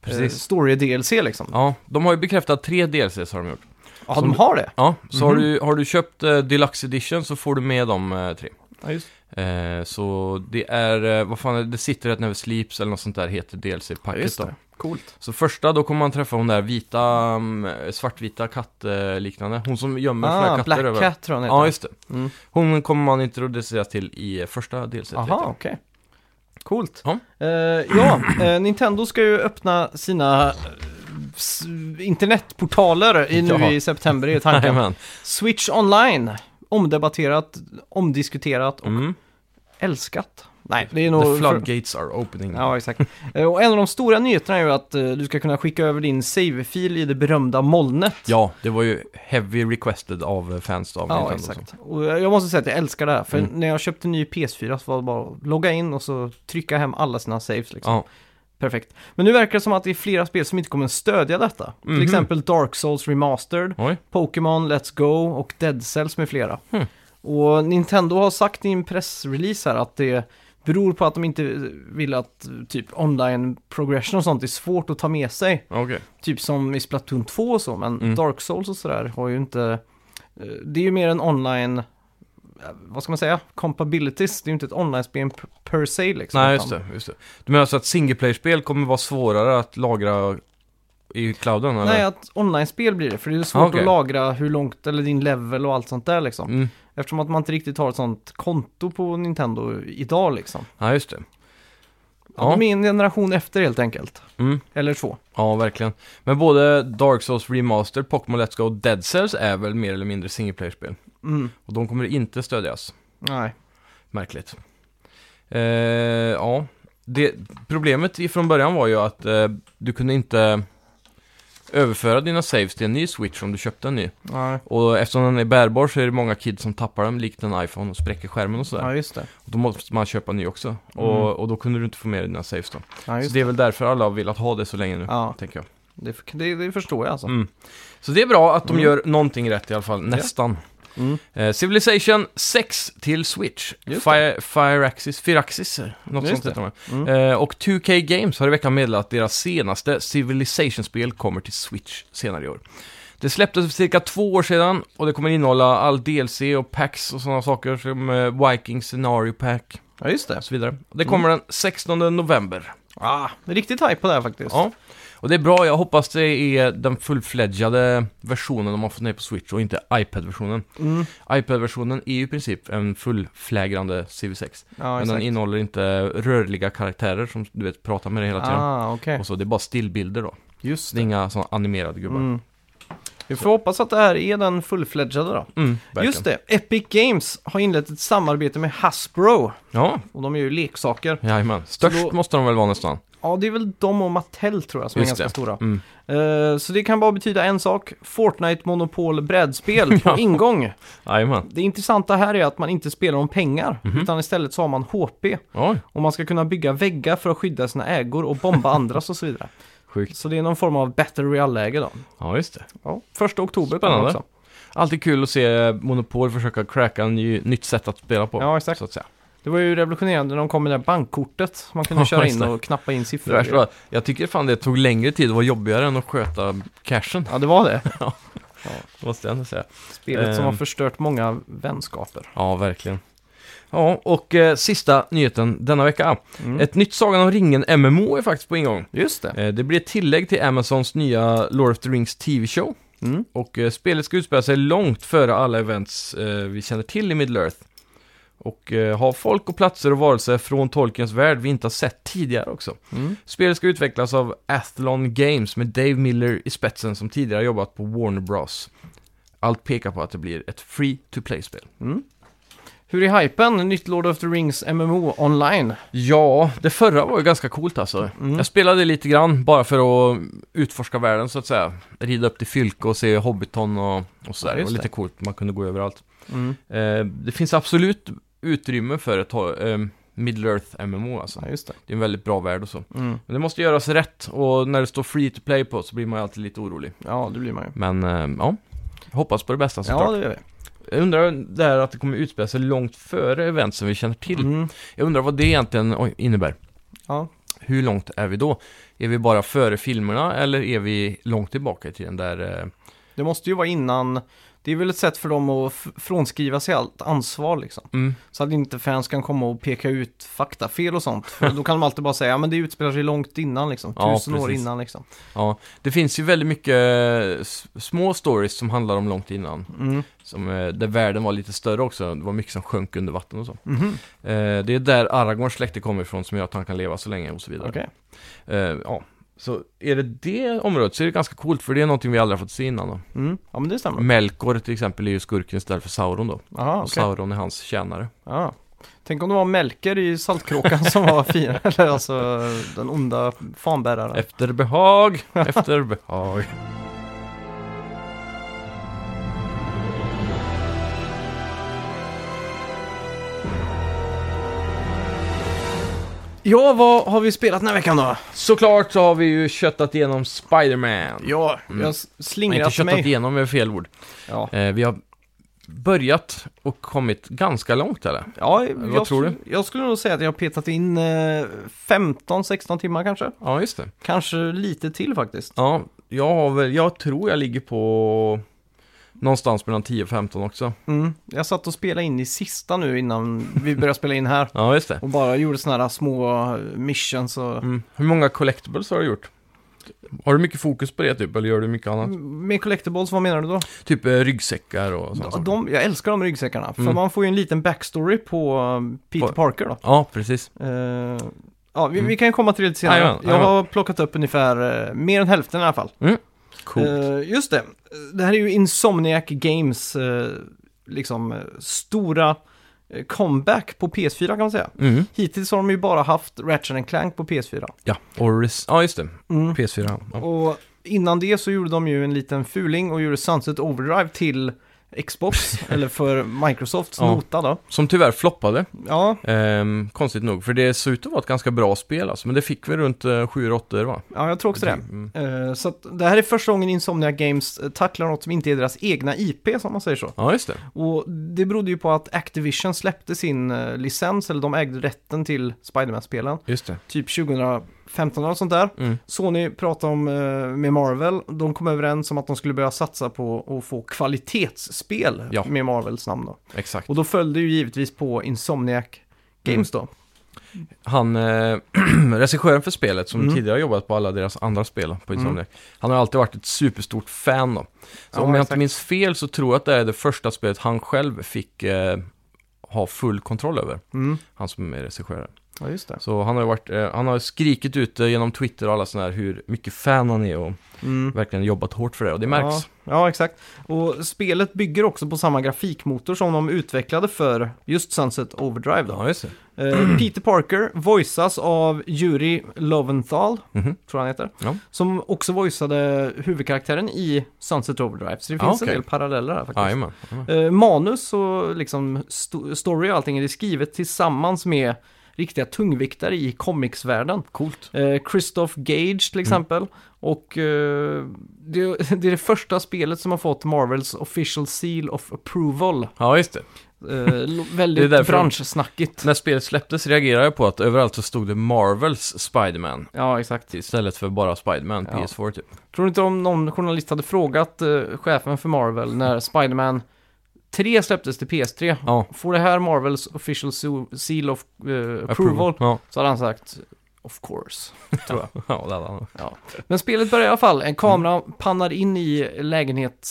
Speaker 2: Precis.
Speaker 1: story-DLC liksom. Ja,
Speaker 2: Ja, de har ju bekräftat tre DLCs har de gjort.
Speaker 1: de har det?
Speaker 2: Ja, så har,
Speaker 1: Mhm.
Speaker 2: du, har du köpt eh, Deluxe Edition så får du med de eh, tre.
Speaker 1: Ja, just
Speaker 2: Eh, så det är, eh, vad fan är det, det sitter ett Never Sleeps eller något sånt där heter DLC-packet
Speaker 1: Ja, just
Speaker 2: då.
Speaker 1: det. Coolt.
Speaker 2: Så första, då kommer man träffa hon där vita, mm, svartvita kattliknande. Hon som gömmer såna här
Speaker 1: Ah,
Speaker 2: katter
Speaker 1: Black
Speaker 2: överallt.
Speaker 1: Cat tror jag
Speaker 2: Ja,
Speaker 1: han
Speaker 2: just det.
Speaker 1: Mm.
Speaker 2: Hon kommer man introduceras till i första delsättet.
Speaker 1: heter. Jaha, okej. Coolt.
Speaker 2: Typ Ja.
Speaker 1: Eh, ja, eh, Nintendo ska ju öppna sina eh, s- internetportaler i, nu
Speaker 2: Ja.
Speaker 1: i september, är tanken.
Speaker 2: Jajamän.
Speaker 1: Switch Online, omdebatterat, omdiskuterat och
Speaker 2: Mm.
Speaker 1: älskat. Nej, det är nog...
Speaker 2: The floodgates are opening.
Speaker 1: Ja, exakt. Eh, Och en av de stora nyheterna är ju att eh, du ska kunna skicka över din save-fil i det berömda molnet.
Speaker 2: Ja, det var ju heavy requested av eh, fans av
Speaker 1: Ja,
Speaker 2: Nintendo.
Speaker 1: exakt. Och jag måste säga att jag älskar det här, för
Speaker 2: Mm.
Speaker 1: när jag köpte en ny PS4 så var det bara att logga in och så trycka hem alla sina saves liksom.
Speaker 2: Ja.
Speaker 1: Perfekt. Men nu verkar det som att det är flera spel som inte kommer stödja detta. Till
Speaker 2: Mhm.
Speaker 1: exempel Dark Souls Remastered,
Speaker 2: Oj.
Speaker 1: Pokémon Let's Go och Dead Cells med flera.
Speaker 2: Hmm.
Speaker 1: Och Nintendo har sagt i en pressrelease här att det beror på att de inte vill att eh, typ online progression och sånt är svårt att ta med sig.
Speaker 2: Okej.
Speaker 1: Typ som i Splatoon 2 och så, men
Speaker 2: Mm.
Speaker 1: Dark Souls och sådär har ju inte... eh, Det är ju mer en online... eh, Vad ska man säga? Compabilities. Det är ju inte ett online-spel per- per se liksom.
Speaker 2: Nej, just
Speaker 1: utan-
Speaker 2: det, just det. Du menar alltså att singleplayer-spel kommer vara svårare att lagra i clouden? Eller?
Speaker 1: Nej, att online-spel blir det. För det är svårt
Speaker 2: Ah, okej.
Speaker 1: att lagra hur långt, eller din level och allt sånt där liksom.
Speaker 2: Mm.
Speaker 1: Eftersom att man inte riktigt har ett sånt konto på Nintendo idag liksom.
Speaker 2: Ja, just det.
Speaker 1: Ja.
Speaker 2: Ja,
Speaker 1: De är en generation efter helt enkelt.
Speaker 2: mm.
Speaker 1: Eller två.
Speaker 2: ja, verkligen. Men både Dark Souls Remaster, Pokémon Let's Go och Dead Cells är väl mer eller mindre singleplayer-spel?
Speaker 1: Mm.
Speaker 2: Och de kommer inte stödjas.
Speaker 1: Nej.
Speaker 2: Märkligt. Eh, ja, det, problemet ifrån början var ju att eh, du kunde inte överföra dina saves till en ny Switch om du köpte en ny.
Speaker 1: Nej.
Speaker 2: Och eftersom den är bärbar så är det många kids som tappar den likt en iPhone och spräcker skärmen och sådär.
Speaker 1: Ja, just det.
Speaker 2: Och då måste man köpa en ny också.
Speaker 1: Mm.
Speaker 2: Och, och då kunde du inte få med dina saves då.
Speaker 1: Ja,
Speaker 2: Så
Speaker 1: just det.
Speaker 2: det är väl därför alla har velat ha det så länge nu,
Speaker 1: Ja,
Speaker 2: tänker jag.
Speaker 1: det, det, det förstår jag alltså.
Speaker 2: Mm. Så det är bra att de
Speaker 1: Mm.
Speaker 2: gör någonting rätt i alla fall, nästan.
Speaker 1: Mm.
Speaker 2: Eh, Civilization 6 till Switch.
Speaker 1: Just
Speaker 2: Fire, Fireaxis, Firaxis, eh, något
Speaker 1: Just
Speaker 2: sånt
Speaker 1: det.
Speaker 2: heter de.
Speaker 1: Mm.
Speaker 2: Eh, och 2K Games har i veckan meddelat att deras senaste Civilization-spel kommer till Switch senare i år. Det släpptes för cirka två år sedan och det kommer innehålla all DLC och packs och sådana saker som eh, Viking Scenario Pack
Speaker 1: Ja, just det.
Speaker 2: och så vidare. Det kommer
Speaker 1: Mm.
Speaker 2: den 16 november.
Speaker 1: Ah, riktigt hype på det här faktiskt.
Speaker 2: Ja. Och det är bra, jag hoppas det är den fullfledgade versionen de har fått ner på Switch och inte iPad-versionen.
Speaker 1: Mm.
Speaker 2: iPad-versionen är ju i princip en fullflägrande CV6.
Speaker 1: Ja,
Speaker 2: men
Speaker 1: exakt.
Speaker 2: den innehåller inte rörliga karaktärer som du vet pratar med dig hela tiden.
Speaker 1: Ah, okej.
Speaker 2: Och så det är bara stillbilder då.
Speaker 1: Just
Speaker 2: Så det är inga sådana animerade gubbar. Mm,
Speaker 1: Mm. Vi får hoppas att det här är den fullfledgade då.
Speaker 2: Mm, verkligen.
Speaker 1: Just det, Epic Games har inlett ett samarbete med Hasbro.
Speaker 2: Ja,
Speaker 1: Och de är ju leksaker.
Speaker 2: jajamän. Störst
Speaker 1: Så då-
Speaker 2: måste de väl vara nästan.
Speaker 1: Ja, det är väl de och Mattel tror jag som
Speaker 2: Just
Speaker 1: är ganska
Speaker 2: det.
Speaker 1: stora.
Speaker 2: Mm.
Speaker 1: Eh, så det kan bara betyda en sak. Fortnite Monopol brädspel på ingång.
Speaker 2: Jajamän.
Speaker 1: Det intressanta här är att man inte spelar om pengar,
Speaker 2: Mhm.
Speaker 1: utan istället så har man HP.
Speaker 2: Oj,
Speaker 1: Och man ska kunna bygga väggar för att skydda sina ägor och bomba andras och så vidare.
Speaker 2: sjukt.
Speaker 1: Så det är någon form av Battle Royale-läge då.
Speaker 2: Ja, just det.
Speaker 1: Ja, första oktober kommer
Speaker 2: Spännande.
Speaker 1: också.
Speaker 2: Alltid kul att se Monopol försöka cracka en ny, nytt sätt att spela på.
Speaker 1: Ja, exakt.
Speaker 2: Så att säga.
Speaker 1: Det var ju revolutionerande när de kom med det där bankkortet. Man kunde
Speaker 2: Ja,
Speaker 1: köra in
Speaker 2: just det.
Speaker 1: och knappa in siffror.
Speaker 2: Det värsta var, jag tycker fan det tog längre tid och var jobbigare än att sköta cashen,
Speaker 1: Ja, det var det.
Speaker 2: måste jag ändå säga.
Speaker 1: Spelet som
Speaker 2: Ehm.
Speaker 1: har förstört många vänskaper.
Speaker 2: Ja, verkligen. Ja, och eh, sista nyheten denna vecka. Ett nytt Sagan om ringen MMO är faktiskt på ingång.
Speaker 1: Mm. Just det.
Speaker 2: Eh, det blir ett tillägg till Amazons nya Lord of the Rings TV-show.
Speaker 1: Mm.
Speaker 2: Och eh, spelet ska utspela sig långt före alla events eh, vi känner till i Middle-earth. Och eh, ha folk och platser och varelser från Tolkiens värld vi inte har sett tidigare också.
Speaker 1: Mm.
Speaker 2: Spelet ska utvecklas av Athlon Games med Dave Miller i spetsen som tidigare jobbat på Warner Bros. Allt pekar på att det blir ett free-to-play-spel.
Speaker 1: Mm. Hur är hypen? Nytt Lord of the Rings MMO online.
Speaker 2: Ja, det förra var ju ganska coolt alltså.
Speaker 1: Mm.
Speaker 2: Jag spelade lite grann bara för att utforska världen så att säga. Rida upp till Fylke och se Hobbiton och, och sådär.
Speaker 1: Ja,
Speaker 2: det
Speaker 1: just
Speaker 2: var
Speaker 1: det.
Speaker 2: lite coolt, man kunde gå överallt.
Speaker 1: Mm.
Speaker 2: Eh, det finns absolut utrymme för ett ho- eh, Middle Earth MMO alltså.
Speaker 1: Ja, just det.
Speaker 2: Det är en väldigt bra värld och så.
Speaker 1: Mm.
Speaker 2: Men det måste göras rätt och när det står free to play på så blir man ju alltid lite orolig.
Speaker 1: Ja, det blir man ju.
Speaker 2: Men eh, ja, jag hoppas på det bästa
Speaker 1: Ja,
Speaker 2: såklart.
Speaker 1: det gör vi.
Speaker 2: Jag undrar där att det kommer utspela sig långt före event som vi känner till.
Speaker 1: Mm.
Speaker 2: Jag undrar vad det egentligen oj, innebär.
Speaker 1: Ja.
Speaker 2: Hur långt är vi då? Är vi bara före filmerna eller är vi långt tillbaka i tiden där... eh,
Speaker 1: Det måste ju vara innan Det är väl ett sätt för dem att f- frånskriva sig allt ansvar liksom.
Speaker 2: Mm.
Speaker 1: Så att inte fans kan komma och peka ut faktafel och sånt. För då kan de alltid bara säga, ja men det utspelar sig långt innan liksom.
Speaker 2: Ja,
Speaker 1: Tusen år
Speaker 2: precis.
Speaker 1: innan liksom.
Speaker 2: Ja, det finns ju väldigt mycket eh, s- små stories som handlar om långt innan.
Speaker 1: Mm.
Speaker 2: Som, eh, där världen var lite större också. Det var mycket som sjönk under vatten och så.
Speaker 1: Mhm.
Speaker 2: Eh, det är där Aragorns släkte kommer ifrån som gör att han kan leva så länge och så vidare.
Speaker 1: Okej.
Speaker 2: Eh, ja. Så är det det området så är det ganska coolt för det är någonting vi aldrig har fått se innan då.
Speaker 1: Mm. Ja men det stämmer.
Speaker 2: Melkor till exempel är ju skurken istället för Sauron då.
Speaker 1: Jaha,
Speaker 2: Och
Speaker 1: okej.
Speaker 2: Sauron är hans tjänare.
Speaker 1: Ja. Tänk om det var Melker i Saltkråkan som var fin, eller alltså den onda fanbäraren.
Speaker 2: Efter behag, efter behag.
Speaker 1: Ja, vad har vi spelat den här veckan då?
Speaker 2: Såklart så har vi ju köttat igenom Spider-Man.
Speaker 1: Ja,
Speaker 2: Mm.
Speaker 1: jag har
Speaker 2: Nej, inte
Speaker 1: slingrat
Speaker 2: köttat
Speaker 1: mig.
Speaker 2: igenom är fel ord.
Speaker 1: Ja,
Speaker 2: Eh, vi har börjat och kommit ganska långt eller?
Speaker 1: ja
Speaker 2: Vad
Speaker 1: jag,
Speaker 2: tror du?
Speaker 1: jag skulle nog säga att jag har petat in eh, 15-16 timmar kanske.
Speaker 2: Ja, just det.
Speaker 1: Kanske lite till faktiskt.
Speaker 2: Ja, jag har väl, jag tror jag ligger på någonstans mellan 10 och 15 också.
Speaker 1: Mm. Jag satt och spelade in i sista nu innan vi började spela in här.
Speaker 2: Ja, just det.
Speaker 1: Och bara gjorde sådana här små eh, missions och...
Speaker 2: Mm. Hur många collectibles har du gjort? Har du mycket fokus på det typ, eller gör du mycket annat?
Speaker 1: Med collectibles, vad menar du då?
Speaker 2: Typ eh, ryggsäckar och sånt.
Speaker 1: Ja, de, jag älskar de ryggsäckarna, för
Speaker 2: Mm.
Speaker 1: man får ju en liten backstory på um, Peter
Speaker 2: På-
Speaker 1: Parker då.
Speaker 2: Ja, precis.
Speaker 1: Eh, ja, vi,
Speaker 2: Mm.
Speaker 1: vi kan ju komma till det lite senare.
Speaker 2: Jajamän,
Speaker 1: jag har plockat upp ungefär eh, mer än hälften i alla fall.
Speaker 2: Coolt.
Speaker 1: Eh, just det, det här är ju Insomniac Games eh, liksom eh, stora eh, comeback på PS4 kan man säga.
Speaker 2: Mm.
Speaker 1: Hittills har de ju bara haft Ratchet and Clank på PS4.
Speaker 2: Ja, och res- ja, just det.
Speaker 1: Mm.
Speaker 2: PS4. Ja.
Speaker 1: Och innan det så gjorde de ju en liten fuling och gjorde Sunset Overdrive till Xbox, eller för Microsofts
Speaker 2: Ja.
Speaker 1: nota då.
Speaker 2: Som tyvärr floppade,
Speaker 1: Ja,
Speaker 2: ehm, konstigt nog. För det såg ut att vara ett ganska bra spel alltså, men det fick vi runt eh, 7 8 va?
Speaker 1: ja jag tror också det.
Speaker 2: Mm.
Speaker 1: Eh, Så att det här är första gången Insomnia Games eh, tacklar något som inte är deras egna IP, som man säger så.
Speaker 2: Ja, just det.
Speaker 1: Och det berodde ju på att Activision släppte sin eh, licens, eller de ägde rätten till Spiderman-spelen,
Speaker 2: Just det.
Speaker 1: typ 2015 eller sånt där.
Speaker 2: Mm.
Speaker 1: Sony pratade om, eh, med Marvel, de kom överens om att de skulle börja satsa på att få kvalitetsspel
Speaker 2: Ja.
Speaker 1: med Marvels namn då.
Speaker 2: Exakt.
Speaker 1: Och då följde ju givetvis på Insomniac Games
Speaker 2: Mm.
Speaker 1: då.
Speaker 2: Han, eh, regissören för spelet som
Speaker 1: Mm.
Speaker 2: tidigare har jobbat på alla deras andra spel på Insomniac, han har alltid varit ett superstort fan då.
Speaker 1: Ja,
Speaker 2: Så om jag inte
Speaker 1: exakt.
Speaker 2: minns fel så tror jag att det här är det första spelet han själv fick eh, ha full kontroll över,
Speaker 1: Mm.
Speaker 2: han som är regissören.
Speaker 1: Ja, just det.
Speaker 2: Så han har, ju varit, eh, han har skrikit ut eh, genom Twitter och alla sådana här hur mycket fan han är och
Speaker 1: Mm.
Speaker 2: verkligen jobbat hårt för det och det
Speaker 1: Ja,
Speaker 2: märks.
Speaker 1: ja, exakt. Och spelet bygger också på samma grafikmotor som de utvecklade för just Sunset Overdrive. Då.
Speaker 2: Ja, just det.
Speaker 1: Eh, Peter Parker voiceas av Yuri Loventhal,
Speaker 2: Mhm.
Speaker 1: tror han heter,
Speaker 2: Ja.
Speaker 1: som också voiceade huvudkaraktären i Sunset Overdrive. Så det
Speaker 2: Ah,
Speaker 1: finns
Speaker 2: okej.
Speaker 1: en del paralleller här faktiskt.
Speaker 2: Jajamän. jajamän.
Speaker 1: Eh, manus och liksom sto- story och allting är det skrivet tillsammans med riktiga tungviktare i comicsvärlden.
Speaker 2: Coolt.
Speaker 1: Eh, Christoph Gage
Speaker 2: Mm.
Speaker 1: till exempel. Och eh, det, det är det första spelet som har fått Marvels official seal of approval.
Speaker 2: Ja, just det.
Speaker 1: Eh, lo- väldigt
Speaker 2: därför-
Speaker 1: branschsnackigt.
Speaker 2: När spelet släpptes reagerade jag på att överallt så stod det Marvels Spiderman
Speaker 1: Ja, exakt.
Speaker 2: istället för bara Spiderman,
Speaker 1: Ja.
Speaker 2: PS4 typ.
Speaker 1: Tror du inte om någon journalist hade frågat eh, chefen för Marvel när Spider-Man 3 släpptes till PS3?
Speaker 2: Ja.
Speaker 1: Får det här Marvels official so- seal of eh, approval?
Speaker 2: Ja,
Speaker 1: Så hade han sagt Of course.
Speaker 2: tror jag. ja, det hade han.
Speaker 1: Men spelet börjar i alla fall. En kamera pannar in i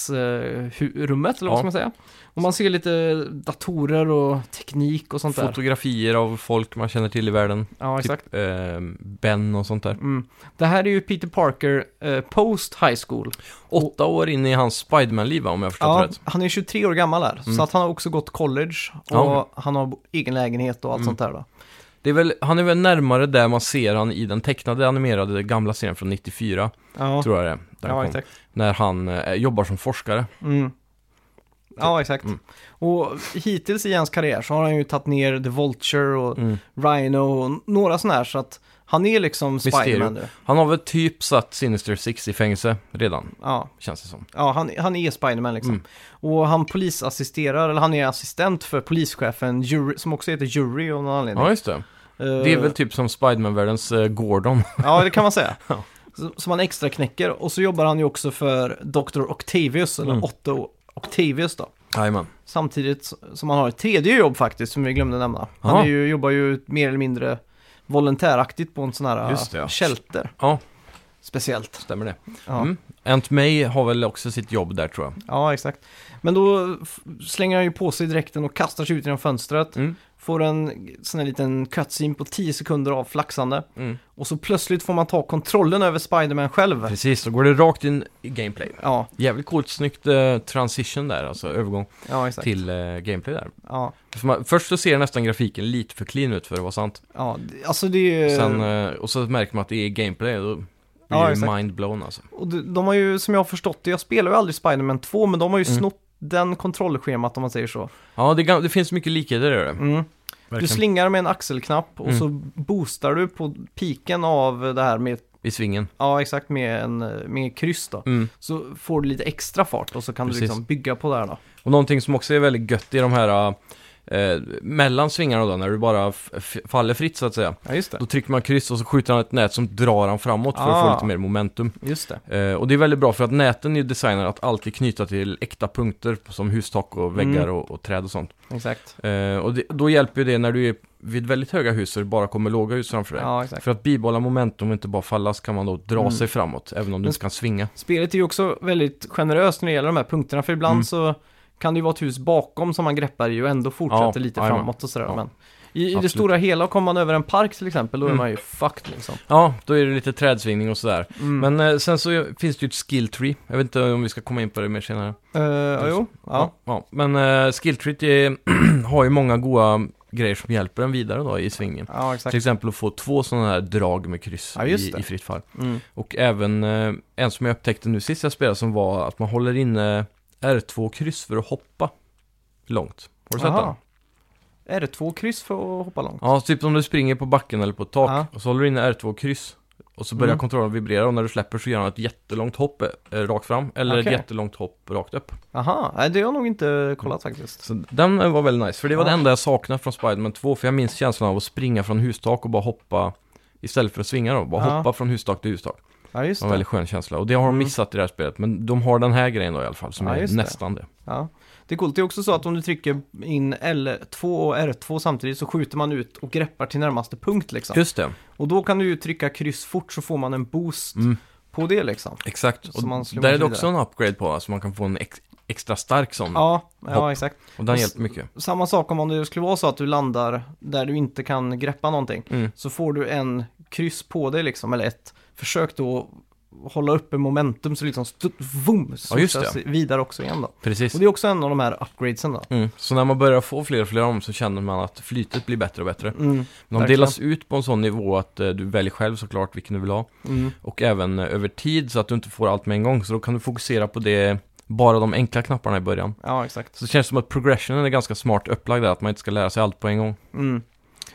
Speaker 1: lägenhetsrummet, eller vad
Speaker 2: Ja.
Speaker 1: ska man säga? Och man ser lite datorer och teknik och sånt där.
Speaker 2: Fotografier av folk man känner till i världen.
Speaker 1: Ja, exakt.
Speaker 2: Typ eh, Ben och sånt där.
Speaker 1: Mm. Det här är ju Peter Parker eh, post high school.
Speaker 2: Åtta år in i hans Spiderman-liv va, om jag förstått
Speaker 1: Ja,
Speaker 2: rätt.
Speaker 1: han är 23 år gammal här, så att han har också gått college och
Speaker 2: Mm. Ja, okej. Mm.
Speaker 1: han har bo- egen lägenhet och allt sånt där då.
Speaker 2: Det är väl, han är väl närmare där man ser han i den tecknade animerade gamla serien från 94,
Speaker 1: Ja,
Speaker 2: tror jag det är. Där
Speaker 1: ja
Speaker 2: han kom,
Speaker 1: exakt.
Speaker 2: när han eh, jobbar som forskare.
Speaker 1: Mm. Ja, exakt.
Speaker 2: Mm.
Speaker 1: Och hittills i hans karriär så har han ju tagit ner The Vulture och
Speaker 2: Mm.
Speaker 1: Rhino och några sådana här, så att han är liksom
Speaker 2: Mysterio.
Speaker 1: Spiderman nu.
Speaker 2: Han har väl typ satt Sinister Six i fängelse redan,
Speaker 1: Ja,
Speaker 2: känns det som.
Speaker 1: ja han, han är Spiderman liksom.
Speaker 2: Mm.
Speaker 1: Och han polisassisterar, eller han är assistent för polischefen, Jury, som också heter Jury av någon anledning. Eh,
Speaker 2: Ja, just det. Det är väl typ som Spiderman-världens eh, Gordon.
Speaker 1: Ja, det kan man säga.
Speaker 2: Ja.
Speaker 1: Så- Som han extra knäcker. Och så jobbar han ju också för Dr. Octavius, eller
Speaker 2: Mm.
Speaker 1: Otto Octavius då.
Speaker 2: Jajamän.
Speaker 1: Samtidigt som han har ett tredje jobb faktiskt, som vi glömde nämna. Han
Speaker 2: Ja.
Speaker 1: är ju, jobbar ju mer eller mindre volontäraktigt på en sån här
Speaker 2: Just det, ja.
Speaker 1: shelter.
Speaker 2: Ja,
Speaker 1: Speciellt.
Speaker 2: stämmer det.
Speaker 1: Ja.
Speaker 2: Mm. Aunt May har väl också sitt jobb där tror jag.
Speaker 1: ja, exakt. Men då f- slänger han ju på sig dräkten och kastar sig ut genom fönstret.
Speaker 2: Mm.
Speaker 1: Får en sån här liten cutscene på 10 sekunder av flaxande.
Speaker 2: Mm.
Speaker 1: Och så plötsligt får man ta kontrollen över Spiderman själv.
Speaker 2: Precis, då går det rakt in i gameplay.
Speaker 1: Ja,
Speaker 2: Jävligt coolt, snyggt eh, transition där, alltså övergång
Speaker 1: ja exakt.
Speaker 2: till eh, gameplay där.
Speaker 1: Ja,
Speaker 2: För man, först så ser nästan grafiken lite för clean ut för att vara sant.
Speaker 1: ja, d- alltså det är ju...
Speaker 2: Sen, eh, och så märker man att det är gameplay, då blir
Speaker 1: Ja,
Speaker 2: ja,
Speaker 1: exakt.
Speaker 2: det mind blown alltså.
Speaker 1: Och de, de har ju, som jag har förstått det, jag spelar ju aldrig Spider-Man 2, men de har ju
Speaker 2: Mm.
Speaker 1: snott den kontrollschemat om man säger så.
Speaker 2: Ja, det, ga- det finns mycket likheter i det.
Speaker 1: Mm. Du
Speaker 2: Verkligen.
Speaker 1: slingar med en axelknapp och
Speaker 2: Mm.
Speaker 1: så boostar du på piken av det här med,
Speaker 2: I svingen.
Speaker 1: ja exakt, med en eh, med kryss då.
Speaker 2: Mm.
Speaker 1: Så får du lite extra fart och så kan
Speaker 2: Precis.
Speaker 1: du liksom bygga på det här då.
Speaker 2: Och någonting som också är väldigt gött i de här eh, mellan svingarna då, när du bara f- f- faller fritt så att säga.
Speaker 1: Ja, just det.
Speaker 2: Då trycker man kryss och så skjuter han ett nät som drar han framåt för att
Speaker 1: Ah.
Speaker 2: få lite mer momentum.
Speaker 1: Just det.
Speaker 2: Eh, och det är väldigt bra för att näten är ju designade att alltid knyta till äkta punkter som hustak och väggar
Speaker 1: Mm.
Speaker 2: och, och träd och sånt.
Speaker 1: Exakt.
Speaker 2: Eh, och det, då hjälper ju det när du är vid väldigt höga hus så det bara kommer låga hus framför dig.
Speaker 1: Ja, exakt.
Speaker 2: För att bibehålla momentum och inte bara falla så kan man då dra
Speaker 1: Mm.
Speaker 2: sig framåt, även om du
Speaker 1: Men-
Speaker 2: inte kan svinga.
Speaker 1: Spelet är ju också väldigt generöst när det gäller de här punkterna, för ibland
Speaker 2: Mm.
Speaker 1: så kan det ju vara ett hus bakom som man greppar i och ändå fortsätter
Speaker 2: Ja,
Speaker 1: lite
Speaker 2: jajamän.
Speaker 1: framåt och sådär.
Speaker 2: Ja.
Speaker 1: Men i, i det
Speaker 2: Absolut.
Speaker 1: stora hela, kommer man över en park till exempel, då är
Speaker 2: Mm.
Speaker 1: man ju fucked liksom.
Speaker 2: Ja, då är det lite trädsvingning och sådär.
Speaker 1: Mm.
Speaker 2: Men eh, sen så är- finns det ju ett skill tree. Jag vet inte om vi ska komma in på det mer senare.
Speaker 1: Eh, ja, jo, ja.
Speaker 2: ja. Men eh, skill tree är, har ju många goda grejer som hjälper en vidare då i svingen.
Speaker 1: ja,
Speaker 2: Till
Speaker 1: exakt.
Speaker 2: exempel att få två sådana här drag med kryss
Speaker 1: Ja, just
Speaker 2: i,
Speaker 1: det.
Speaker 2: i fritt fall.
Speaker 1: Mm.
Speaker 2: Och även eh, en som jag upptäckte nu sist jag spelade som var att man håller inne R2-kryss för att hoppa långt. Har du sett den?
Speaker 1: Aha. Är det två kryss för att hoppa långt?
Speaker 2: Ja, typ om du springer på backen eller på ett tak
Speaker 1: Ja.
Speaker 2: och så håller du inne R2-kryss och så börjar
Speaker 1: Mm.
Speaker 2: kontrollen vibrera och när du släpper så gör han ett jättelångt hopp eh, rakt fram eller
Speaker 1: Okej.
Speaker 2: ett jättelångt hopp rakt upp.
Speaker 1: Aha, nej det har jag nog inte kollat faktiskt.
Speaker 2: Mm. Så den eh, var väldigt nice, för det var
Speaker 1: Ja.
Speaker 2: det enda jag saknade från Spiderman 2 för jag minns känslan av att springa från hustak och bara hoppa istället för att svinga då, bara
Speaker 1: Ja.
Speaker 2: hoppa från hustak till hustak.
Speaker 1: Ja,
Speaker 2: Det
Speaker 1: just
Speaker 2: var en väldigt
Speaker 1: det.
Speaker 2: skön känsla och det har de
Speaker 1: Mm.
Speaker 2: missat i det här spelet men de har den här grejen då i alla fall som
Speaker 1: Ja, just
Speaker 2: är
Speaker 1: det.
Speaker 2: nästan det.
Speaker 1: Ja. Det är coolt, det är också så att om du trycker in L2 och R2 samtidigt så skjuter man ut och greppar till närmaste punkt liksom.
Speaker 2: Just det,
Speaker 1: Och då kan du ju trycka kryss fort så får man en boost
Speaker 2: Mm.
Speaker 1: på det liksom.
Speaker 2: exakt.
Speaker 1: Så man
Speaker 2: Och
Speaker 1: slår
Speaker 2: där är det
Speaker 1: vidare.
Speaker 2: också en upgrade på, alltså man kan få en ex extra stark sån
Speaker 1: Ja, ja
Speaker 2: Hopp.
Speaker 1: exakt.
Speaker 2: och den
Speaker 1: Och s-
Speaker 2: hjälper mycket.
Speaker 1: Samma sak om det skulle vara så att du landar där du inte kan greppa någonting.
Speaker 2: Mm.
Speaker 1: Så får du en kryss på dig liksom, eller ett. Försök då hålla uppe momentum så liksom stutt, vum,
Speaker 2: Ja, just
Speaker 1: studsas vidare också igen då.
Speaker 2: Precis.
Speaker 1: Och det är också en av de här upgradesen då.
Speaker 2: Mm. Så när man börjar få fler och fler om så känner man att flytet blir bättre och bättre.
Speaker 1: Mm,
Speaker 2: Men de
Speaker 1: verkligen.
Speaker 2: delas ut på en sån nivå att eh, du väljer själv såklart vilken du vill ha.
Speaker 1: mm.
Speaker 2: Och även eh, över tid så att du inte får allt med en gång. Så då kan du fokusera på det, bara de enkla knapparna i början.
Speaker 1: Ja, exakt.
Speaker 2: Så det känns som att progressionen är ganska smart upplagd där, att man inte ska lära sig allt på en gång.
Speaker 1: Mm.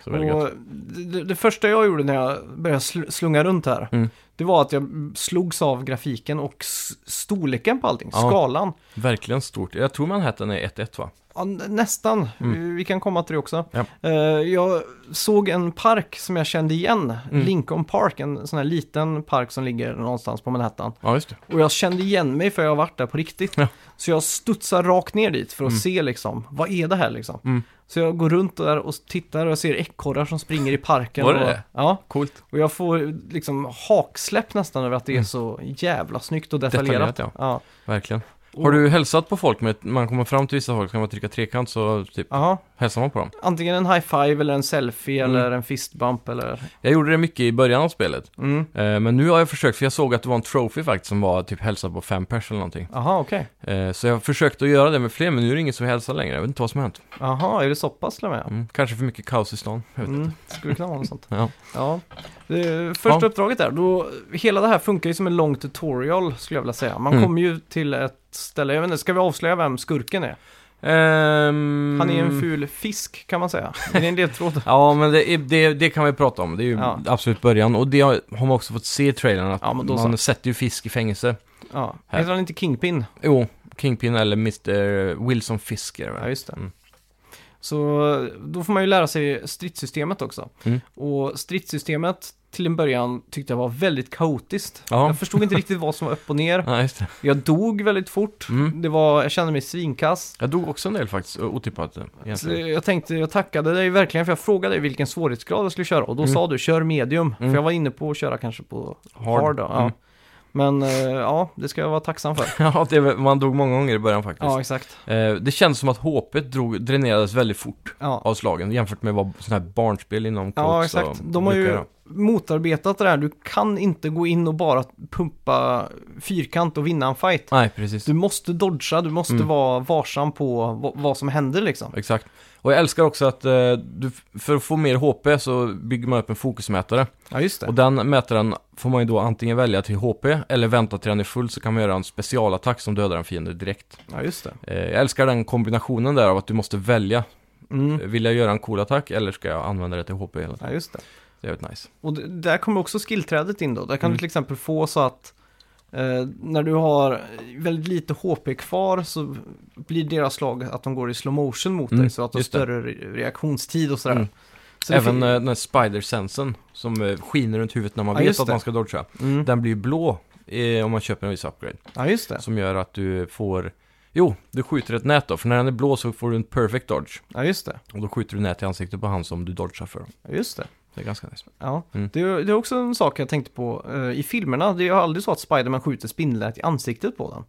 Speaker 2: Så väldigt gött.
Speaker 1: Och det, det första jag gjorde när jag började sl- slunga runt här,
Speaker 2: Mm.
Speaker 1: det var att jag slogs av grafiken och s- storleken på allting,
Speaker 2: Ja.
Speaker 1: skalan.
Speaker 2: Verkligen stort. Jag tror Manhattan är 1-1 va?
Speaker 1: Ja, n- nästan, vi, vi kan komma till det också.
Speaker 2: Mm. Ja.
Speaker 1: Eh, jag såg en park som jag kände igen,
Speaker 2: Mm.
Speaker 1: Lincoln Park, en sån här liten park som ligger någonstans på Manhattan.
Speaker 2: Ja, just det.
Speaker 1: Och jag kände igen mig för jag har varit där på riktigt.
Speaker 2: Ja.
Speaker 1: Så jag studsar rakt ner dit för att se liksom, vad är det här liksom?
Speaker 2: Mm.
Speaker 1: Så jag går runt där och tittar och jag ser ekorrar som springer i parken.
Speaker 2: Var det
Speaker 1: och,
Speaker 2: det?
Speaker 1: Ja.
Speaker 2: Coolt.
Speaker 1: Och jag får liksom haksläpp nästan över att det är så jävla snyggt och detaljerat.
Speaker 2: Mm. Detaljerat, ja.
Speaker 1: ja.
Speaker 2: Verkligen.
Speaker 1: Och-
Speaker 2: Har du hälsat på folk med, man kommer fram till vissa folk, kan man trycka trekant så typ
Speaker 1: Jaha.
Speaker 2: hälsar man på dem.
Speaker 1: Antingen en high five eller en selfie
Speaker 2: Mm.
Speaker 1: eller en fist bump eller...
Speaker 2: Jag gjorde det mycket i början av spelet.
Speaker 1: Mm.
Speaker 2: Eh, Men nu har jag försökt, för jag såg att det var en trophy faktiskt som var typ hälsa på fem pers eller någonting.
Speaker 1: Jaha, okej.
Speaker 2: Eh, Så jag försökte att göra det med fler, men nu är det ingen som hälsar längre. Jag vet inte vad som har hänt.
Speaker 1: Jaha, är det så pass till och med?
Speaker 2: Mm. Kanske för mycket kaos i stan. Jag vet inte.
Speaker 1: Mm, skulle kunna vara något sånt.
Speaker 2: Ja.
Speaker 1: Ja. Det första
Speaker 2: Ja.
Speaker 1: uppdraget där, då, hela det här funkar ju som en lång tutorial skulle jag vilja säga. Man
Speaker 2: Mm.
Speaker 1: kommer ju till ett ställe, jag vet inte, ska vi avslöja vem skurken är?
Speaker 2: Ehm,
Speaker 1: Han är en ful fisk kan man säga. Är det en ledtråd?
Speaker 2: Ja, men det, är- det, det kan vi prata om. Det är ju
Speaker 1: Ja.
Speaker 2: absolut början. Och det har har man också fått se i trailern, att
Speaker 1: Ja, men då
Speaker 2: man sätter ju fisk i fängelse.
Speaker 1: Ja.
Speaker 2: Här.
Speaker 1: Heter han inte Kingpin?
Speaker 2: Jo, Kingpin eller Mr. Wilson Fisk är det
Speaker 1: Ja,
Speaker 2: väl?
Speaker 1: just det.
Speaker 2: Mm.
Speaker 1: Så då får man ju lära sig stridssystemet också.
Speaker 2: Mm.
Speaker 1: Och stridssystemet till en början tyckte jag var väldigt kaotiskt.
Speaker 2: Ja.
Speaker 1: Jag förstod inte riktigt vad som var upp och ner.
Speaker 2: Ja, just det.
Speaker 1: Jag dog väldigt fort.
Speaker 2: Mm.
Speaker 1: Det var, jag kände mig svinkass.
Speaker 2: Jag dog också en del faktiskt, otippat
Speaker 1: Så
Speaker 2: eh, egentligen.
Speaker 1: jag tänkte, jag tackade dig verkligen för jag frågade dig vilken svårighetsgrad jag skulle köra och då
Speaker 2: Mm.
Speaker 1: sa du kör medium.
Speaker 2: Mm.
Speaker 1: För jag var inne på att köra kanske på hard.
Speaker 2: Hard.
Speaker 1: då, ja.
Speaker 2: Mm.
Speaker 1: Men eh, ja, det ska jag vara tacksam för.
Speaker 2: Ja, det, var- man dog många gånger i början faktiskt.
Speaker 1: ja, exakt.
Speaker 2: Eh, det känns som att HP drog, dränerades väldigt fort
Speaker 1: Ja.
Speaker 2: av slagen jämfört med vad sådana här barnspel inom
Speaker 1: Ja,
Speaker 2: Colts,
Speaker 1: exakt.
Speaker 2: eh,
Speaker 1: De har
Speaker 2: brukar
Speaker 1: ju
Speaker 2: göra.
Speaker 1: motarbetat det här. Du kan inte gå in och bara pumpa fyrkant och vinna en fight.
Speaker 2: Nej, precis.
Speaker 1: Du måste dodga, du måste
Speaker 2: Mm.
Speaker 1: vara varsam på va- vad som händer liksom.
Speaker 2: Exakt. Och jag älskar också att eh, du, för att få mer HP så bygger man upp en fokusmätare.
Speaker 1: Ja, just
Speaker 2: Och den mätaren får man ju då antingen välja till HP eller vänta till den är full så kan man göra en specialattack som dödar en fiende direkt.
Speaker 1: Ja, just det.
Speaker 2: Eh, jag älskar den kombinationen där av att du måste välja.
Speaker 1: Mm.
Speaker 2: Vill jag göra en cool attack eller ska jag använda det till HP? hela tiden?
Speaker 1: Ja, just det.
Speaker 2: Det är väldigt nice.
Speaker 1: Och d- där kommer också skillträdet in då. Där kan du
Speaker 2: Mm.
Speaker 1: till exempel få så att eh, när du har väldigt lite HP kvar så blir deras slag att de går i slow motion mot
Speaker 2: Mm,
Speaker 1: dig så att du har
Speaker 2: just det.
Speaker 1: större re- reaktionstid och sådär.
Speaker 2: Mm.
Speaker 1: Så det
Speaker 2: Även
Speaker 1: fin-
Speaker 2: eh, den här spider-sensen som eh, skiner runt huvudet när man
Speaker 1: Ja,
Speaker 2: vet
Speaker 1: just
Speaker 2: att
Speaker 1: det.
Speaker 2: man ska dodga.
Speaker 1: mm.
Speaker 2: Den blir ju blå eh, om man köper en viss upgrade.
Speaker 1: Ja, just det.
Speaker 2: Som gör att du får... Jo, du skjuter ett nät då, för när den är blå så får du en perfect dodge.
Speaker 1: Ja, just det.
Speaker 2: Och då skjuter du nät i ansiktet på han som du dodgar för.
Speaker 1: Ja, just det.
Speaker 2: Det är ganska nice.
Speaker 1: Ja,
Speaker 2: Mm.
Speaker 1: det, är- det är också en sak jag tänkte på eh, i filmerna. Det är ju aldrig så att Spiderman skjuter spindlar i ansiktet på dem.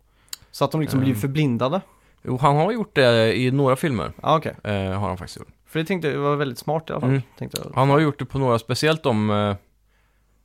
Speaker 1: Så att de liksom blir
Speaker 2: Mm.
Speaker 1: förblindade.
Speaker 2: Jo, han har gjort det i några filmer.
Speaker 1: Ja, okej.
Speaker 2: Eh, har han faktiskt gjort.
Speaker 1: För det tänkte jag var väldigt smart i alla fall.
Speaker 2: Mm.
Speaker 1: Tänkte jag.
Speaker 2: Han har gjort det på några, speciellt om... Eh,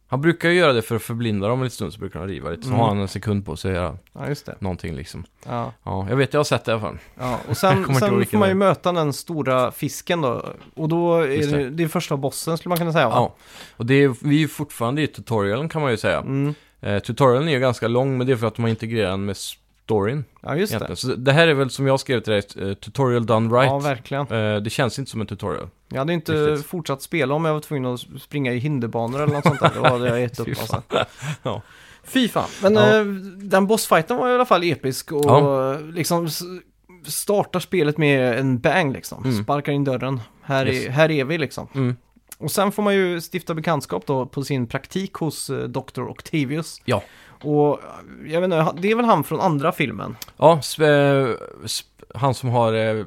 Speaker 2: han brukar ju göra det för att förblinda dem en liten stund, så brukar han riva lite. Så
Speaker 1: Mm.
Speaker 2: har han en sekund på sig att göra
Speaker 1: Ja, just det.
Speaker 2: någonting liksom.
Speaker 1: Ja.
Speaker 2: Ja, jag vet, jag har sett det i alla fall.
Speaker 1: Ja, och
Speaker 2: Jag kommer
Speaker 1: sen,
Speaker 2: inte ihåg
Speaker 1: sen får
Speaker 2: vilken
Speaker 1: man
Speaker 2: det
Speaker 1: ju
Speaker 2: är.
Speaker 1: möta den stora fisken då. Och då är
Speaker 2: Just
Speaker 1: det,
Speaker 2: det.
Speaker 1: det är första bossen skulle man kunna säga va?
Speaker 2: Ja. Och det är, vi är ju fortfarande i tutorialen kan man ju säga.
Speaker 1: Mm.
Speaker 2: Eh, tutorialen är ju ganska lång, men det är för att man integrerar den med storyn.
Speaker 1: ja just det.
Speaker 2: egentligen. Så det här är väl som jag skrev till dig, eh, tutorial done right.
Speaker 1: Ja, verkligen.
Speaker 2: Eh, det känns inte som en tutorial.
Speaker 1: Jag hade inte
Speaker 2: Riktigt.
Speaker 1: fortsatt spela om jag var tvungen att springa i hinderbanor eller något sånt där. Då hade jag gett upp
Speaker 2: Fy fan.
Speaker 1: alltså.
Speaker 2: Ja.
Speaker 1: Fy fan. Men
Speaker 2: Ja.
Speaker 1: eh, den bossfighten var i alla fall episk och
Speaker 2: Ja.
Speaker 1: eh, liksom s- startar spelet med en bang liksom.
Speaker 2: Mm.
Speaker 1: Sparkar in dörren. Här, är,
Speaker 2: Yes.
Speaker 1: här är vi liksom.
Speaker 2: Mm.
Speaker 1: Och sen får man ju stifta bekantskap då på sin praktik hos eh, Dr. Octavius.
Speaker 2: Ja.
Speaker 1: Och eh, jag vet inte, det är väl han från andra filmen?
Speaker 2: Ja, sp- eh, sp- han som har... Eh,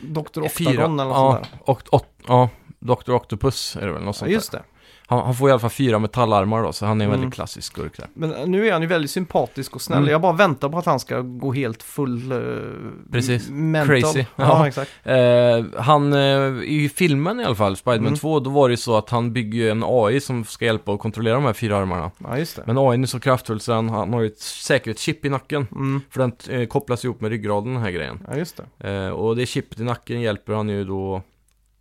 Speaker 1: Dr.
Speaker 2: fyra-
Speaker 1: Octagon eller något sånt
Speaker 2: ja,
Speaker 1: där.
Speaker 2: och, och, ja, Dr. Octopus är det väl, något
Speaker 1: Ja,
Speaker 2: sånt
Speaker 1: just det.
Speaker 2: där. Han, han får i alla fall fyra metallarmar då, så han är en
Speaker 1: Mm.
Speaker 2: väldigt klassisk skurk där.
Speaker 1: Men eh, nu är han ju väldigt sympatisk och snäll.
Speaker 2: Mm.
Speaker 1: Jag bara väntar på att han ska gå helt full... eh,
Speaker 2: Precis.
Speaker 1: m- Mental.
Speaker 2: Crazy.
Speaker 1: Ja,
Speaker 2: Ja.
Speaker 1: exakt.
Speaker 2: Eh, han, eh, i filmen i alla fall, Spiderman
Speaker 1: Mm.
Speaker 2: 2, då var det ju så att han bygger ju en AI som ska hjälpa och kontrollera de här fyra armarna.
Speaker 1: Ja, just det.
Speaker 2: Men AI är så kraftfull så han, han har ju ett säkerhetschip i nacken.
Speaker 1: Mm.
Speaker 2: För den eh, kopplas ihop med ryggraden den här grejen.
Speaker 1: Ja, just det.
Speaker 2: Eh, och det chippet i nacken hjälper han ju då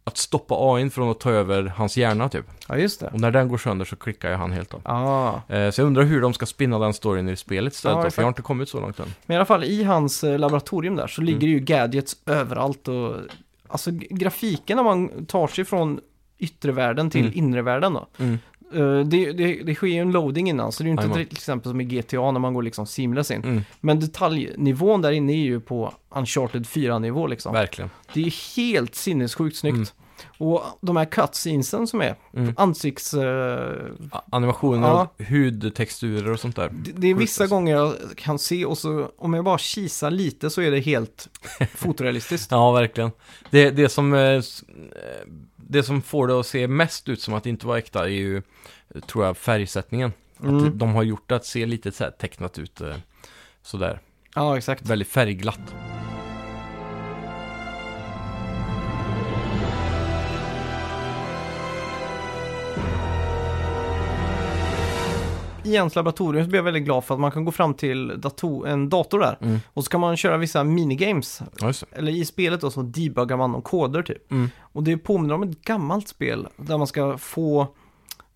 Speaker 2: att stoppa AIn från att ta över hans hjärna typ.
Speaker 1: Ja, just det.
Speaker 2: Och när den går sönder så klickar ju han helt av.
Speaker 1: Ah.
Speaker 2: Eh, så jag undrar hur de ska spinna den storyn i spelet istället
Speaker 1: Ja,
Speaker 2: då,
Speaker 1: exakt.
Speaker 2: för jag har inte kommit så långt än.
Speaker 1: Men i alla fall i hans eh, laboratorium där så
Speaker 2: Mm.
Speaker 1: ligger det ju gadgets överallt och alltså g- grafiken när man tar sig från yttre världen till
Speaker 2: Mm.
Speaker 1: inre världen då. Eh, det, det, det sker ju en loading innan så det är ju inte
Speaker 2: Jajamän.
Speaker 1: till exempel som i GTA när man går liksom seamless in.
Speaker 2: Mm,
Speaker 1: Men detaljnivån där inne är ju på Uncharted 4-nivå liksom.
Speaker 2: Verkligen.
Speaker 1: Det är helt sinnessjukt snyggt. Och de här cutscenesen som är,
Speaker 2: Mm.
Speaker 1: ansikts... eh,
Speaker 2: A- Animationer
Speaker 1: Ja.
Speaker 2: och hudtexturer och sånt där.
Speaker 1: Det, det är
Speaker 2: Sjukt
Speaker 1: vissa
Speaker 2: alltså.
Speaker 1: gånger jag kan se och så om jag bara kisar lite så är det helt fotorealistiskt.
Speaker 2: Ja, verkligen. Det, det, som, eh, s- eh, det som får det att se mest ut som att det inte var äkta är ju, eh, tror jag, färgsättningen. Att
Speaker 1: Mm.
Speaker 2: de har gjort det att se lite så här tecknat ut eh, sådär.
Speaker 1: Ja, exakt.
Speaker 2: Väldigt färgglatt.
Speaker 1: I ens laboratorium så blir jag väldigt glad för att man kan gå fram till dator, en dator där
Speaker 2: Mm.
Speaker 1: och så kan man köra vissa minigames.
Speaker 2: Ja, just det.
Speaker 1: Eller i spelet då så debuggar man om koder typ.
Speaker 2: Mm.
Speaker 1: Och det påminner om ett gammalt spel där man ska få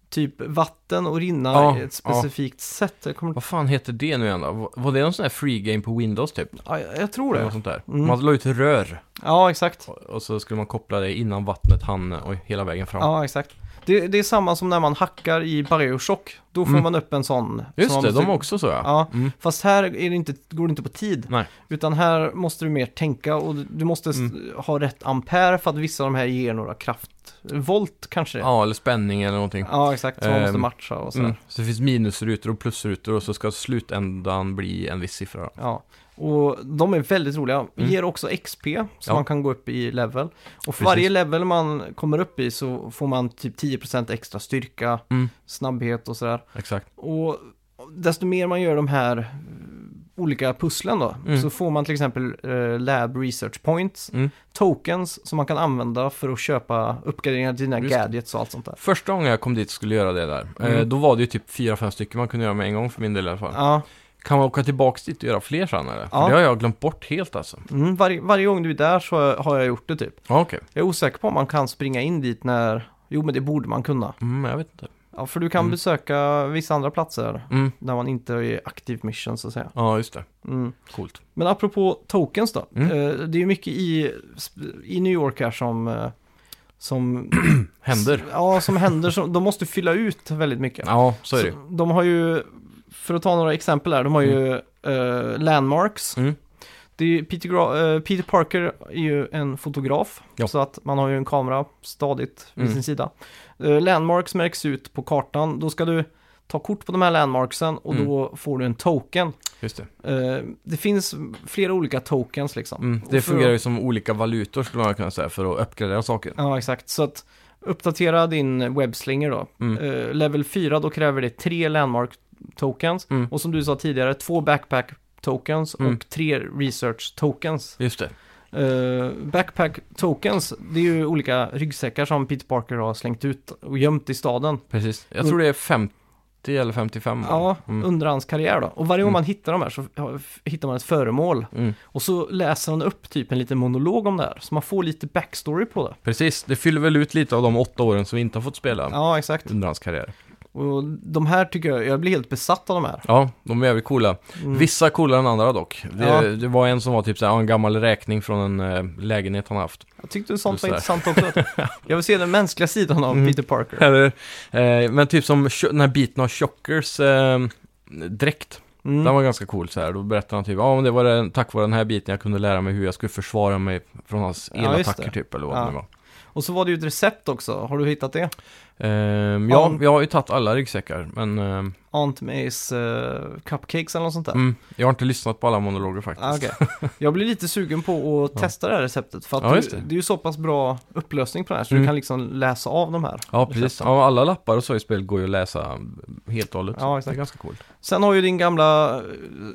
Speaker 1: typ vatten och rinna
Speaker 2: Ja,
Speaker 1: i ett specifikt sätt. Jag, kommer...
Speaker 2: Vad fan heter det nu igen då? Var- Var det någon sån här free game på Windows typ?
Speaker 1: ja, jag jag tror
Speaker 2: Eller något
Speaker 1: det.
Speaker 2: sånt där.
Speaker 1: Mm.
Speaker 2: Man la ut rör.
Speaker 1: Ja, exakt.
Speaker 2: Och- Och så skulle man koppla det innan vattnet hann eh, oj, hela vägen fram.
Speaker 1: Ja, exakt. Det, det är samma som när man hackar i Bioshock. Då får
Speaker 2: Mm.
Speaker 1: man upp en sån.
Speaker 2: Just
Speaker 1: som
Speaker 2: det,
Speaker 1: man måste-
Speaker 2: de var också så ja.
Speaker 1: Ja,
Speaker 2: Mm.
Speaker 1: fast här är det inte, går det inte på tid.
Speaker 2: Nej.
Speaker 1: Utan här måste du mer tänka och du- du måste s-
Speaker 2: Mm.
Speaker 1: ha rätt ampere för att vissa av de här ger några kraft. Volt kanske det är.
Speaker 2: ja, eller spänning eller någonting.
Speaker 1: Ja, exakt. Så man måste
Speaker 2: Ehm,
Speaker 1: matcha och sådär.
Speaker 2: Mm. Så det finns minusrutor och plusrutor och så ska slutändan bli en viss siffra. då.
Speaker 1: Ja, och de är väldigt roliga. Ger också XP så
Speaker 2: Mm. Ja.
Speaker 1: man kan gå upp i level. Och för
Speaker 2: Precis.
Speaker 1: varje level man kommer upp i så får man typ 10% extra styrka,
Speaker 2: Mm.
Speaker 1: snabbhet och sådär.
Speaker 2: Exakt.
Speaker 1: Och desto mer man gör de här eh, olika pusslen då,
Speaker 2: Mm.
Speaker 1: så får man till exempel eh, lab research points,
Speaker 2: Mm.
Speaker 1: tokens som man kan använda för att köpa uppgraderingar till dina
Speaker 2: Just det.
Speaker 1: gadgets och allt sånt där.
Speaker 2: Första gången jag kom dit skulle göra det där,
Speaker 1: Mm.
Speaker 2: eh, då var det ju typ fyra fem stycken man kunde göra med en gång för min del i alla fall.
Speaker 1: Ja,
Speaker 2: Kan man åka tillbaks dit och göra fler sen eller?
Speaker 1: Ja.
Speaker 2: För det har jag glömt bort helt alltså.
Speaker 1: mm, varje- varje gång du är där så har jag gjort det typ.
Speaker 2: Ja, okej.
Speaker 1: Jag är osäker på om man kan springa in dit när... Jo, men det borde man kunna.
Speaker 2: Mm, jag vet inte.
Speaker 1: Ja, för du kan
Speaker 2: Mm.
Speaker 1: besöka vissa andra platser
Speaker 2: Mm.
Speaker 1: när man inte är aktiv mission så att säga.
Speaker 2: Ja, just det.
Speaker 1: Mm.
Speaker 2: Coolt.
Speaker 1: Men apropå tokens då.
Speaker 2: Mm.
Speaker 1: Eh, det är ju mycket i, i New York här som... eh, Som
Speaker 2: Händer.
Speaker 1: Ja, som händer. Som, de måste fylla ut väldigt mycket.
Speaker 2: Ja, så är det ju.
Speaker 1: de har ju, för att ta några exempel här, de har ju eh, landmarks.
Speaker 2: Mm.
Speaker 1: Det är ju Peter, Gra- eh, Peter Parker är ju en fotograf,
Speaker 2: Ja.
Speaker 1: så att man har ju en kamera stadigt vid
Speaker 2: Mm.
Speaker 1: sin sida. Eh, landmarks märks ut på kartan, då ska du ta kort på de här landmarksen och
Speaker 2: Mm.
Speaker 1: då får du en token.
Speaker 2: Just det.
Speaker 1: Eh, det finns flera olika tokens liksom.
Speaker 2: Mm.
Speaker 1: Och
Speaker 2: Det
Speaker 1: för-
Speaker 2: fungerar ju som olika valutor skulle man kunna säga för att uppgradera saker.
Speaker 1: Ja, exakt. Så att uppdatera din webbslinger då.
Speaker 2: Mm.
Speaker 1: Eh, level 4, då kräver det tre landmark tokens.
Speaker 2: Mm.
Speaker 1: Och som du sa tidigare, två backpack tokens
Speaker 2: Mm.
Speaker 1: och tre research tokens.
Speaker 2: Just det.
Speaker 1: Eh, backpack tokens, det är ju olika ryggsäckar som Peter Parker har slängt ut och gömt i staden.
Speaker 2: Precis. Jag tror det är 50 eller 55.
Speaker 1: Mm. Ja,
Speaker 2: Mm.
Speaker 1: under hans karriär då. Och varje gång
Speaker 2: Mm.
Speaker 1: man hittar de här så ja, f- hittar man ett föremål.
Speaker 2: Mm.
Speaker 1: Och så läser han upp typ en liten monolog om det här. Så man får lite backstory på det.
Speaker 2: Precis. Det fyller väl ut lite av de åtta åren som vi inte har fått spela
Speaker 1: Ja, exakt.
Speaker 2: under hans karriär.
Speaker 1: Och de här tycker jag, jag blir helt besatt av de här.
Speaker 2: Ja, de är jävligt coola.
Speaker 1: Mm.
Speaker 2: Vissa coolare än andra dock. Det,
Speaker 1: Ja.
Speaker 2: det var en som var typ såhär, en gammal räkning från en eh, lägenhet han haft.
Speaker 1: Jag tyckte sånt
Speaker 2: Just
Speaker 1: var
Speaker 2: det.
Speaker 1: intressant också. Jag vill se den mänskliga sidan av
Speaker 2: Mm.
Speaker 1: Peter Parker.
Speaker 2: Eller, eh, men typ som tjo- den här biten av Chockers eh, dräkt.
Speaker 1: Mm.
Speaker 2: Den var ganska cool så här. Då berättade han typ, ja men det var den, tack vare den här biten jag kunde lära mig hur jag skulle försvara mig från hans
Speaker 1: Ja, just
Speaker 2: elattacker
Speaker 1: det.
Speaker 2: typ, eller vad
Speaker 1: Ja.
Speaker 2: det nu var.
Speaker 1: Och så var det ju ett recept också. Har du hittat det?
Speaker 2: Ehm,
Speaker 1: Ja.
Speaker 2: ja, jag har ju tagit alla ryggsäckar, men ehm,
Speaker 1: Aunt Mays eh, cupcakes eller något sånt där.
Speaker 2: mm, jag har inte lyssnat på alla monologer faktiskt.
Speaker 1: Ah, okej. Jag blir lite sugen på att
Speaker 2: Ja.
Speaker 1: testa det här receptet. För att
Speaker 2: Ja,
Speaker 1: du,
Speaker 2: just
Speaker 1: det.
Speaker 2: det.
Speaker 1: är ju så pass bra upplösning på det här. Så du
Speaker 2: Mm.
Speaker 1: kan liksom läsa av de här.
Speaker 2: Ja, precis. Ja, alla lappar och så i spel går ju att läsa helt och hållet.
Speaker 1: Ja, exakt.
Speaker 2: Det är ganska coolt.
Speaker 1: Sen har ju din gamla eh,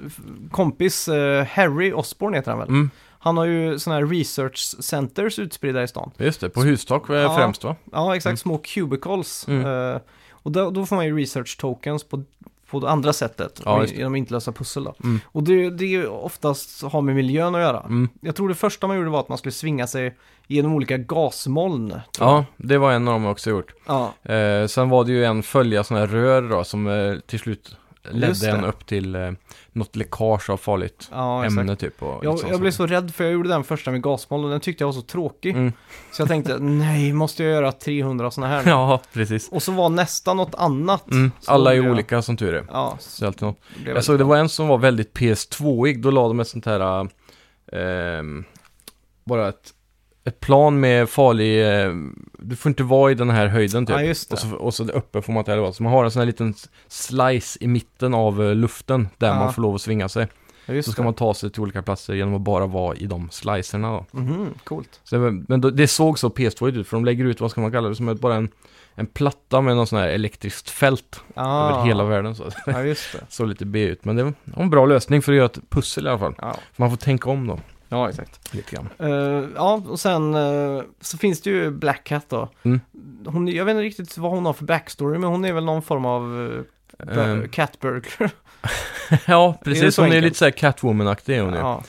Speaker 1: f- kompis eh, Harry Osborn heter han väl?
Speaker 2: Mm,
Speaker 1: Han har ju sådana här research centers utspridda i stan.
Speaker 2: just det, på hustak eh,
Speaker 1: Ja.
Speaker 2: främst va?
Speaker 1: Ja, exakt. Små cubicles.
Speaker 2: Mm.
Speaker 1: Eh, och då, då får man ju research tokens på, på det andra sättet.
Speaker 2: Ja,
Speaker 1: och
Speaker 2: just det.
Speaker 1: genom att inte lösa pussel då.
Speaker 2: Mm.
Speaker 1: Och det, det är ju oftast har med miljön att göra.
Speaker 2: Mm.
Speaker 1: Jag tror det första man gjorde var att man skulle svinga sig genom olika gasmoln. tror jag.
Speaker 2: Ja, det var en av dem jag också gjort.
Speaker 1: ja.
Speaker 2: Eh, sen var det ju en följa sådana här rör då som eh, till slut
Speaker 1: Just
Speaker 2: ledde
Speaker 1: det.
Speaker 2: en upp till eh, något läckage av farligt
Speaker 1: Ja, exakt.
Speaker 2: ämne typ. Och lite
Speaker 1: Jag,
Speaker 2: sånt
Speaker 1: jag blev
Speaker 2: saker.
Speaker 1: så rädd för jag gjorde den första med gasmoln och den tyckte jag var så tråkig.
Speaker 2: Mm.
Speaker 1: Så jag tänkte, nej, måste jag göra 300 sådana här? nu?
Speaker 2: Ja, precis.
Speaker 1: Och så var nästa något annat.
Speaker 2: Mm.
Speaker 1: Så
Speaker 2: Alla
Speaker 1: blev
Speaker 2: är
Speaker 1: jag-
Speaker 2: olika som tur är.
Speaker 1: Ja,
Speaker 2: Så det är alltid något.
Speaker 1: det blev
Speaker 2: Jag såg det var en som var väldigt PS2-ig, då la de ett sånt här, ehm, bara ett, ett plan med farlig, eh, du får inte vara i den här höjden typ.
Speaker 1: Ja, just det.
Speaker 2: och, så, och så uppe får man inte heller vara. Så man har en sån här liten slice i mitten av eh, luften där
Speaker 1: Ja.
Speaker 2: man får lov att svinga sig.
Speaker 1: Ja, just
Speaker 2: Så ska
Speaker 1: det.
Speaker 2: man ta sig till olika platser genom att bara vara i de slicerna då.
Speaker 1: Mhm, coolt.
Speaker 2: Så, det var- men då, det såg så PS2 ut, för de lägger ut, vad ska man kalla det, som ett, bara en, en platta med någon sån här elektriskt fält
Speaker 1: Ah.
Speaker 2: över hela världen. Så det
Speaker 1: Ja, just det.
Speaker 2: såg lite B ut, men det var en bra lösning för att göra ett pussel i alla fall.
Speaker 1: Ja,
Speaker 2: Man får tänka om då,
Speaker 1: ja exakt.
Speaker 2: lite grann.
Speaker 1: Eh, ja, och sen eh, så finns det ju Black Cat då.
Speaker 2: Mm.
Speaker 1: Hon, jag vet inte riktigt vad hon har för backstory, men hon är väl någon form av uh,
Speaker 2: Ehm,
Speaker 1: catburger.
Speaker 2: ja,
Speaker 1: Är det
Speaker 2: precis.
Speaker 1: så
Speaker 2: Hon är
Speaker 1: enkelt?
Speaker 2: lite såhär Catwoman-aktig är hon ju.
Speaker 1: ja,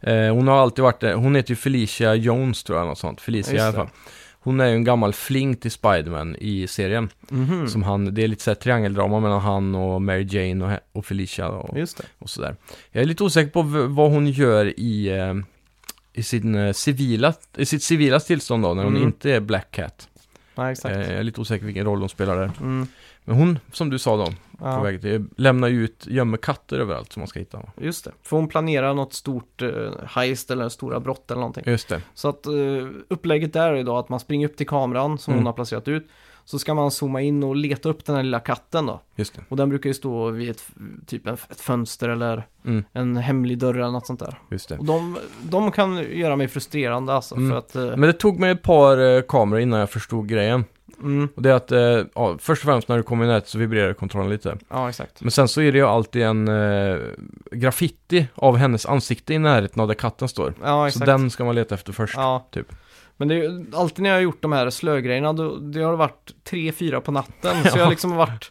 Speaker 2: Eh, hon har alltid varit det. Hon heter ju Felicia Jones tror jag, något sånt. Felicia
Speaker 1: Just
Speaker 2: i alla
Speaker 1: det.
Speaker 2: fall. Hon är ju en gammal fling till Spiderman i serien.
Speaker 1: Mhm.
Speaker 2: Som han, det är lite såhär triangeldrama mellan han och Mary Jane och, he- och Felicia och,
Speaker 1: just det.
Speaker 2: och sådär. Jag är lite osäker på v- vad hon gör i, eh, i, sin, eh, civila, i sitt civila tillstånd då, när hon
Speaker 1: Mm.
Speaker 2: inte är Black Cat.
Speaker 1: Nej,
Speaker 2: Eh,
Speaker 1: exakt.
Speaker 2: jag är lite osäker vilken roll hon spelar där.
Speaker 1: Mm,
Speaker 2: Men hon, som du sa då, på
Speaker 1: ja,
Speaker 2: väg till, lämnar ju ut, gömmer katter överallt som man ska hitta. va?
Speaker 1: just det. För hon planerar något stort eh, heist eller stora brott eller någonting.
Speaker 2: Just det.
Speaker 1: Så att eh, upplägget där är då att man springer upp till kameran som
Speaker 2: Mm.
Speaker 1: hon har placerat ut. Så ska man zooma in och leta upp den här lilla katten då.
Speaker 2: Just det.
Speaker 1: Och den brukar ju stå vid ett, typ en, ett fönster eller
Speaker 2: Mm,
Speaker 1: en hemlig dörr eller något sånt där.
Speaker 2: just det.
Speaker 1: Och de, de kan göra mig frustrerande alltså.
Speaker 2: Mm.
Speaker 1: För att, eh,
Speaker 2: Men det tog mig ett par eh, kameror innan jag förstod grejen.
Speaker 1: mm,
Speaker 2: Och det är att, eh, ja, först och främst när du kommer i nät så vibrerar kontrollen lite.
Speaker 1: ja exakt.
Speaker 2: Men sen så är det ju alltid en eh, graffiti av hennes ansikte i närheten av där katten står.
Speaker 1: Ja,
Speaker 2: så
Speaker 1: exakt.
Speaker 2: den ska man leta efter först.
Speaker 1: ja.
Speaker 2: typ.
Speaker 1: Men det är, ju- alltid när jag har gjort de här slögrejerna, då, det har varit 3-4 på natten. Så jag har liksom varit,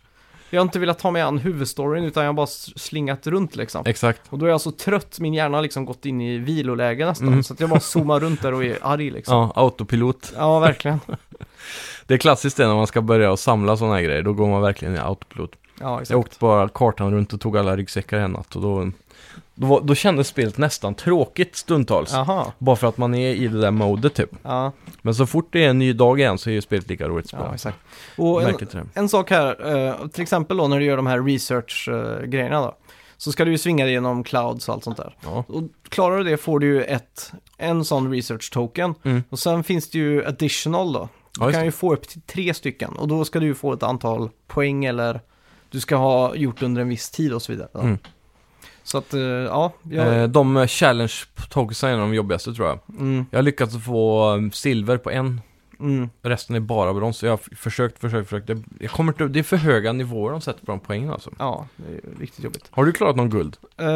Speaker 1: jag har inte velat ta mig an huvudstoryn utan jag har bara s- slingat runt liksom.
Speaker 2: Exakt.
Speaker 1: Och då är jag så trött, min hjärna har liksom gått in i viloläge nästan.
Speaker 2: Mm.
Speaker 1: Så att jag bara zoomar runt där och är arg liksom.
Speaker 2: Ja, autopilot.
Speaker 1: Ja, verkligen.
Speaker 2: Det är klassiskt det när man ska börja och samla sådana här grejer. Då går man verkligen i autopilot.
Speaker 1: Ja,
Speaker 2: Jag
Speaker 1: exakt.
Speaker 2: åkte bara kartan runt och tog alla ryggsäckar en natt och då, då, var, då kändes spelet nästan tråkigt stundtals.
Speaker 1: Jaha,
Speaker 2: Bara för att man är i det där modet typ.
Speaker 1: ja,
Speaker 2: Men så fort det är en ny dag igen så är ju spelet lika roligt att spela.
Speaker 1: ja exakt. Och en,
Speaker 2: Märkligt det.
Speaker 1: en sak här, eh, till exempel då när du gör de här research-grejerna då. Så ska du ju svinga dig genom clouds och allt sånt där.
Speaker 2: Ja.
Speaker 1: Och klarar du det får du ju ett, en sån research token.
Speaker 2: Mm.
Speaker 1: Och sen finns det ju additional då. Du
Speaker 2: Ja, just
Speaker 1: kan
Speaker 2: det.
Speaker 1: ju få upp till tre stycken och då ska du ju få ett antal poäng eller du ska ha gjort under en viss tid och så vidare. då.
Speaker 2: Mm.
Speaker 1: Så att, eh, ja, jag,
Speaker 2: Eh, De eh, challenge togsen är de jobbigaste tror jag.
Speaker 1: mm,
Speaker 2: Jag har lyckats få eh, silver på en,
Speaker 1: mm,
Speaker 2: resten är bara brons. Så Jag har f- försökt, försökt, försökt. Det- Jag kommer inte, det är för höga nivåer de sätter på de poängen alltså.
Speaker 1: ja, det är ju riktigt jobbigt.
Speaker 2: Har du klarat någon guld?
Speaker 1: Eh,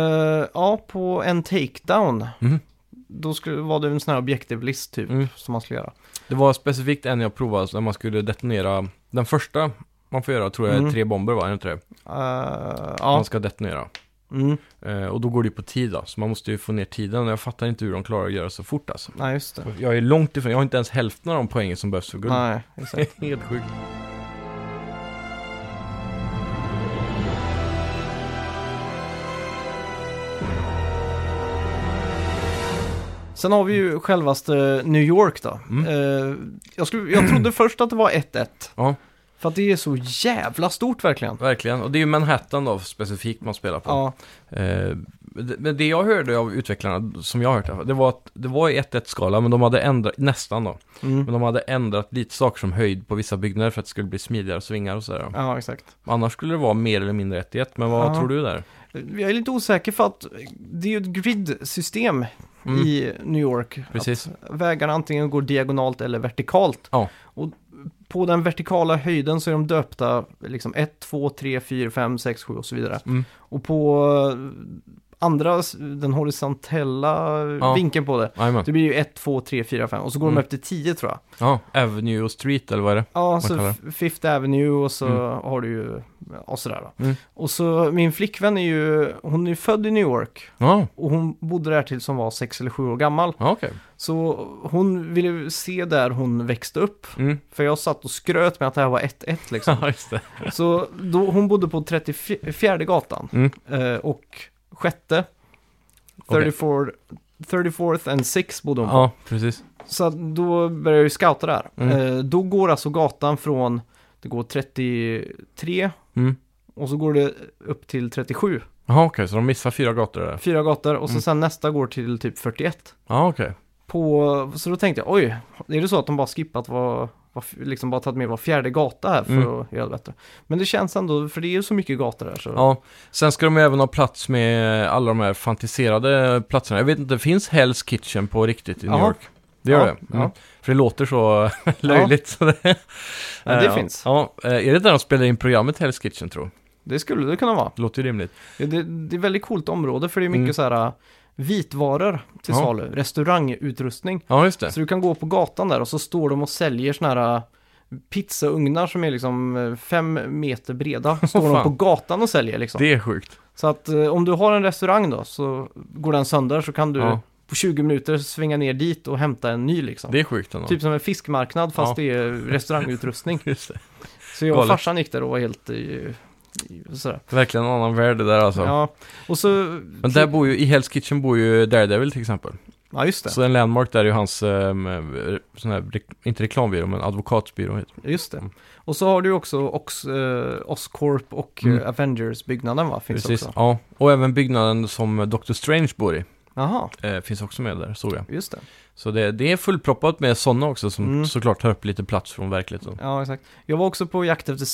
Speaker 1: ja, på en takedown,
Speaker 2: Mhm.
Speaker 1: då skulle, var det en sån här objektivlist typ
Speaker 2: Mm.
Speaker 1: som man skulle göra.
Speaker 2: Det var specifikt en jag provade alltså, när man skulle detonera. Den första man får göra tror jag är
Speaker 1: Mm.
Speaker 2: tre bomber va? Är det inte det?
Speaker 1: Eh,
Speaker 2: Man
Speaker 1: ja,
Speaker 2: ska detonera.
Speaker 1: mm,
Speaker 2: Eh, Och då går det ju på tid då, så man måste ju få ner tiden. Och jag fattar inte hur de klarar att göra så fort alltså.
Speaker 1: nej just det.
Speaker 2: Jag är långt ifrån, jag har inte ens hälften av de poängen som behövs för guld.
Speaker 1: Nej, exakt.
Speaker 2: Helt sjukt.
Speaker 1: Sen har vi ju självaste New York då.
Speaker 2: Mm.
Speaker 1: Eh, jag, skulle, jag trodde först att det var 1-1.
Speaker 2: Ja.
Speaker 1: För att det är så jävla stort verkligen.
Speaker 2: Verkligen, och det är ju Manhattan då specifikt man spelar på.
Speaker 1: Ja,
Speaker 2: Eh, det- men det jag hörde av utvecklarna, som jag har hört, i alla fall, det var att det var i 1-1-skala, men de hade ändrat, nästan då,
Speaker 1: mm.
Speaker 2: men de hade ändrat lite saker som höjd på vissa byggnader för att det skulle bli smidigare svingar och sådär.
Speaker 1: ja exakt.
Speaker 2: Annars skulle det vara mer eller mindre 1-1, men vad
Speaker 1: Ja.
Speaker 2: tror du där?
Speaker 1: Jag är lite osäker för att det är ju ett grid-system
Speaker 2: Mm.
Speaker 1: i New York.
Speaker 2: Precis.
Speaker 1: Att vägarna antingen går diagonalt eller vertikalt.
Speaker 2: Ja.
Speaker 1: Och på den vertikala höjden så är de döpta liksom 1, 2, 3, 4, 5, 6, 7 och så vidare.
Speaker 2: Mm.
Speaker 1: Och på eh, andra, s- den horisontella
Speaker 2: Ja.
Speaker 1: vinkeln på det,
Speaker 2: Jajamän.
Speaker 1: det blir ju 1, 2, 3, 4, 5 och så går
Speaker 2: Mm.
Speaker 1: de upp till 10 tror jag.
Speaker 2: Ja, Avenue och Street eller vad är det?
Speaker 1: Ja, så
Speaker 2: kallar
Speaker 1: F- Fifth Avenue och så
Speaker 2: Mm.
Speaker 1: har du ju, och sådär då.
Speaker 2: Mm.
Speaker 1: Och så min flickvän är ju, hon är ju född i New York
Speaker 2: Ja,
Speaker 1: och hon bodde där tills hon var sex eller sju år gammal.
Speaker 2: ja okej.
Speaker 1: Så hon ville ju se där hon växte upp.
Speaker 2: Mm.
Speaker 1: För jag satt och skröt med att det här var 1-1 liksom.
Speaker 2: Ja, just det.
Speaker 1: så då, hon bodde på 34 gatan
Speaker 2: Mm.
Speaker 1: eh, och sjätte.
Speaker 2: Okej.
Speaker 1: 34, 34th and 6 bodde hon på.
Speaker 2: Ja, precis.
Speaker 1: Så att då började jag ju scouta där.
Speaker 2: Mm.
Speaker 1: Eh, då går alltså gatan från, det går 33
Speaker 2: Mm.
Speaker 1: och så går det upp till 37.
Speaker 2: Jaha, okej, så de missar fyra gator där.
Speaker 1: Fyra gator och så
Speaker 2: Mm.
Speaker 1: sen nästa går till typ 41.
Speaker 2: Ja, okej.
Speaker 1: På, så då tänkte jag, oj, är det så att de bara skippat vad, vad liksom bara tagit med var fjärde gata här för
Speaker 2: Mm.
Speaker 1: att göra det bättre? Men det känns ändå, för det är ju så mycket gator där så.
Speaker 2: Ja, sen ska de ju även ha plats med alla de här fantiserade platserna. Jag vet inte, finns Hell's Kitchen på riktigt i New
Speaker 1: Jaha.
Speaker 2: York? Det gör
Speaker 1: Ja,
Speaker 2: det. Mm.
Speaker 1: ja.
Speaker 2: För det låter så löjligt. så det-
Speaker 1: Men det
Speaker 2: Eh,
Speaker 1: finns.
Speaker 2: Ja, Eh, är det där de spelar in programmet Hell's Kitchen tror?
Speaker 1: Det skulle det kunna vara.
Speaker 2: Det låter ju rimligt.
Speaker 1: Ja, Det, det är väldigt coolt område för det är mycket
Speaker 2: Mm.
Speaker 1: så här äh, vitvaror till
Speaker 2: Ja.
Speaker 1: salu, restaurangutrustning.
Speaker 2: Ja, just det.
Speaker 1: Så du kan gå på gatan där och så står de och säljer såna här äh, pizzaugnar som är liksom eh, fem meter breda. Står de
Speaker 2: fan.
Speaker 1: på gatan och säljer liksom.
Speaker 2: Det är sjukt.
Speaker 1: Så att eh, om du har en restaurang då så går den sönder så kan du
Speaker 2: Ja.
Speaker 1: på 20 minuter svänga ner dit och hämta en ny liksom.
Speaker 2: Det är sjukt ändå.
Speaker 1: Typ som en fiskmarknad fast
Speaker 2: Ja.
Speaker 1: det är restaurangutrustning.
Speaker 2: Just det.
Speaker 1: Så jag och
Speaker 2: Galet.
Speaker 1: farsan gick där och var helt eh, i- sådär.
Speaker 2: Verkligen en annan värld det där alltså.
Speaker 1: Ja, och så...
Speaker 2: Men där bor ju, i Hell's Kitchen bor ju Daredevil till exempel.
Speaker 1: Ja, just det.
Speaker 2: Så en landmark där är ju hans, ehm, re- sån här, re- inte reklambyrå, men advokatsbyrå heter det.
Speaker 1: Just det.
Speaker 2: Mm.
Speaker 1: Och så har du ju också Ox, eh, Oscorp och
Speaker 2: Mm.
Speaker 1: eh, Avengers-byggnaden va? Finns
Speaker 2: Precis,
Speaker 1: också.
Speaker 2: ja. Och även byggnaden som Doctor Strange bor i
Speaker 1: Jaha,
Speaker 2: eh, finns också med där, såg jag.
Speaker 1: just det.
Speaker 2: Så det, det är fullproppat med sådana också som
Speaker 1: Mm.
Speaker 2: såklart tar upp lite plats från verkligheten.
Speaker 1: Ja, exakt. Jag var också på jakt efter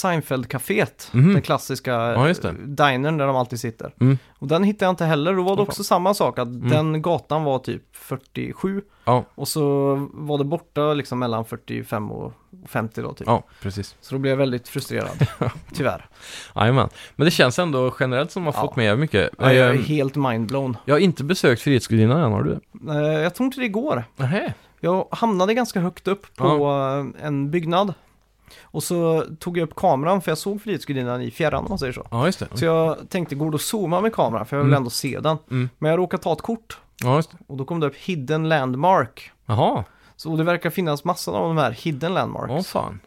Speaker 1: Seinfeld-caféet.
Speaker 2: Mhm.
Speaker 1: Den klassiska
Speaker 2: Ja, just det.
Speaker 1: eh, dinern där de alltid sitter.
Speaker 2: Mm.
Speaker 1: Och den hittade jag inte heller. Då var det
Speaker 2: Åh, fan. Mm.
Speaker 1: också samma sak, att den gatan var typ 47.
Speaker 2: Ja.
Speaker 1: Och så var det borta liksom mellan 45 och 50 då typ.
Speaker 2: Ja, precis.
Speaker 1: Så då blev jag väldigt frustrerad, tyvärr.
Speaker 2: Jajamän. Men det känns ändå generellt som man
Speaker 1: Ja.
Speaker 2: fått med mycket.
Speaker 1: Ja, jag är
Speaker 2: Ehm,
Speaker 1: helt mindblown.
Speaker 2: jag har inte besökt Frihetsgudinnan än, har du det?
Speaker 1: Eh, Jag tror inte det går.
Speaker 2: Nähä.
Speaker 1: Jag hamnade ganska högt upp på eh, en byggnad. Och så tog jag upp kameran för jag såg Frihetsgudinnan i fjärran om man säger så.
Speaker 2: Ja, just det.
Speaker 1: Så jag tänkte, går det att zooma med kameran? För jag vill
Speaker 2: Mm.
Speaker 1: ändå se den.
Speaker 2: Mm.
Speaker 1: Men jag råkade ta ett kort
Speaker 2: Ja, just det.
Speaker 1: och då kom det upp Hidden Landmark.
Speaker 2: Jaha,
Speaker 1: Så det verkar finnas massor av de här Hidden Landmarks.
Speaker 2: åh fan.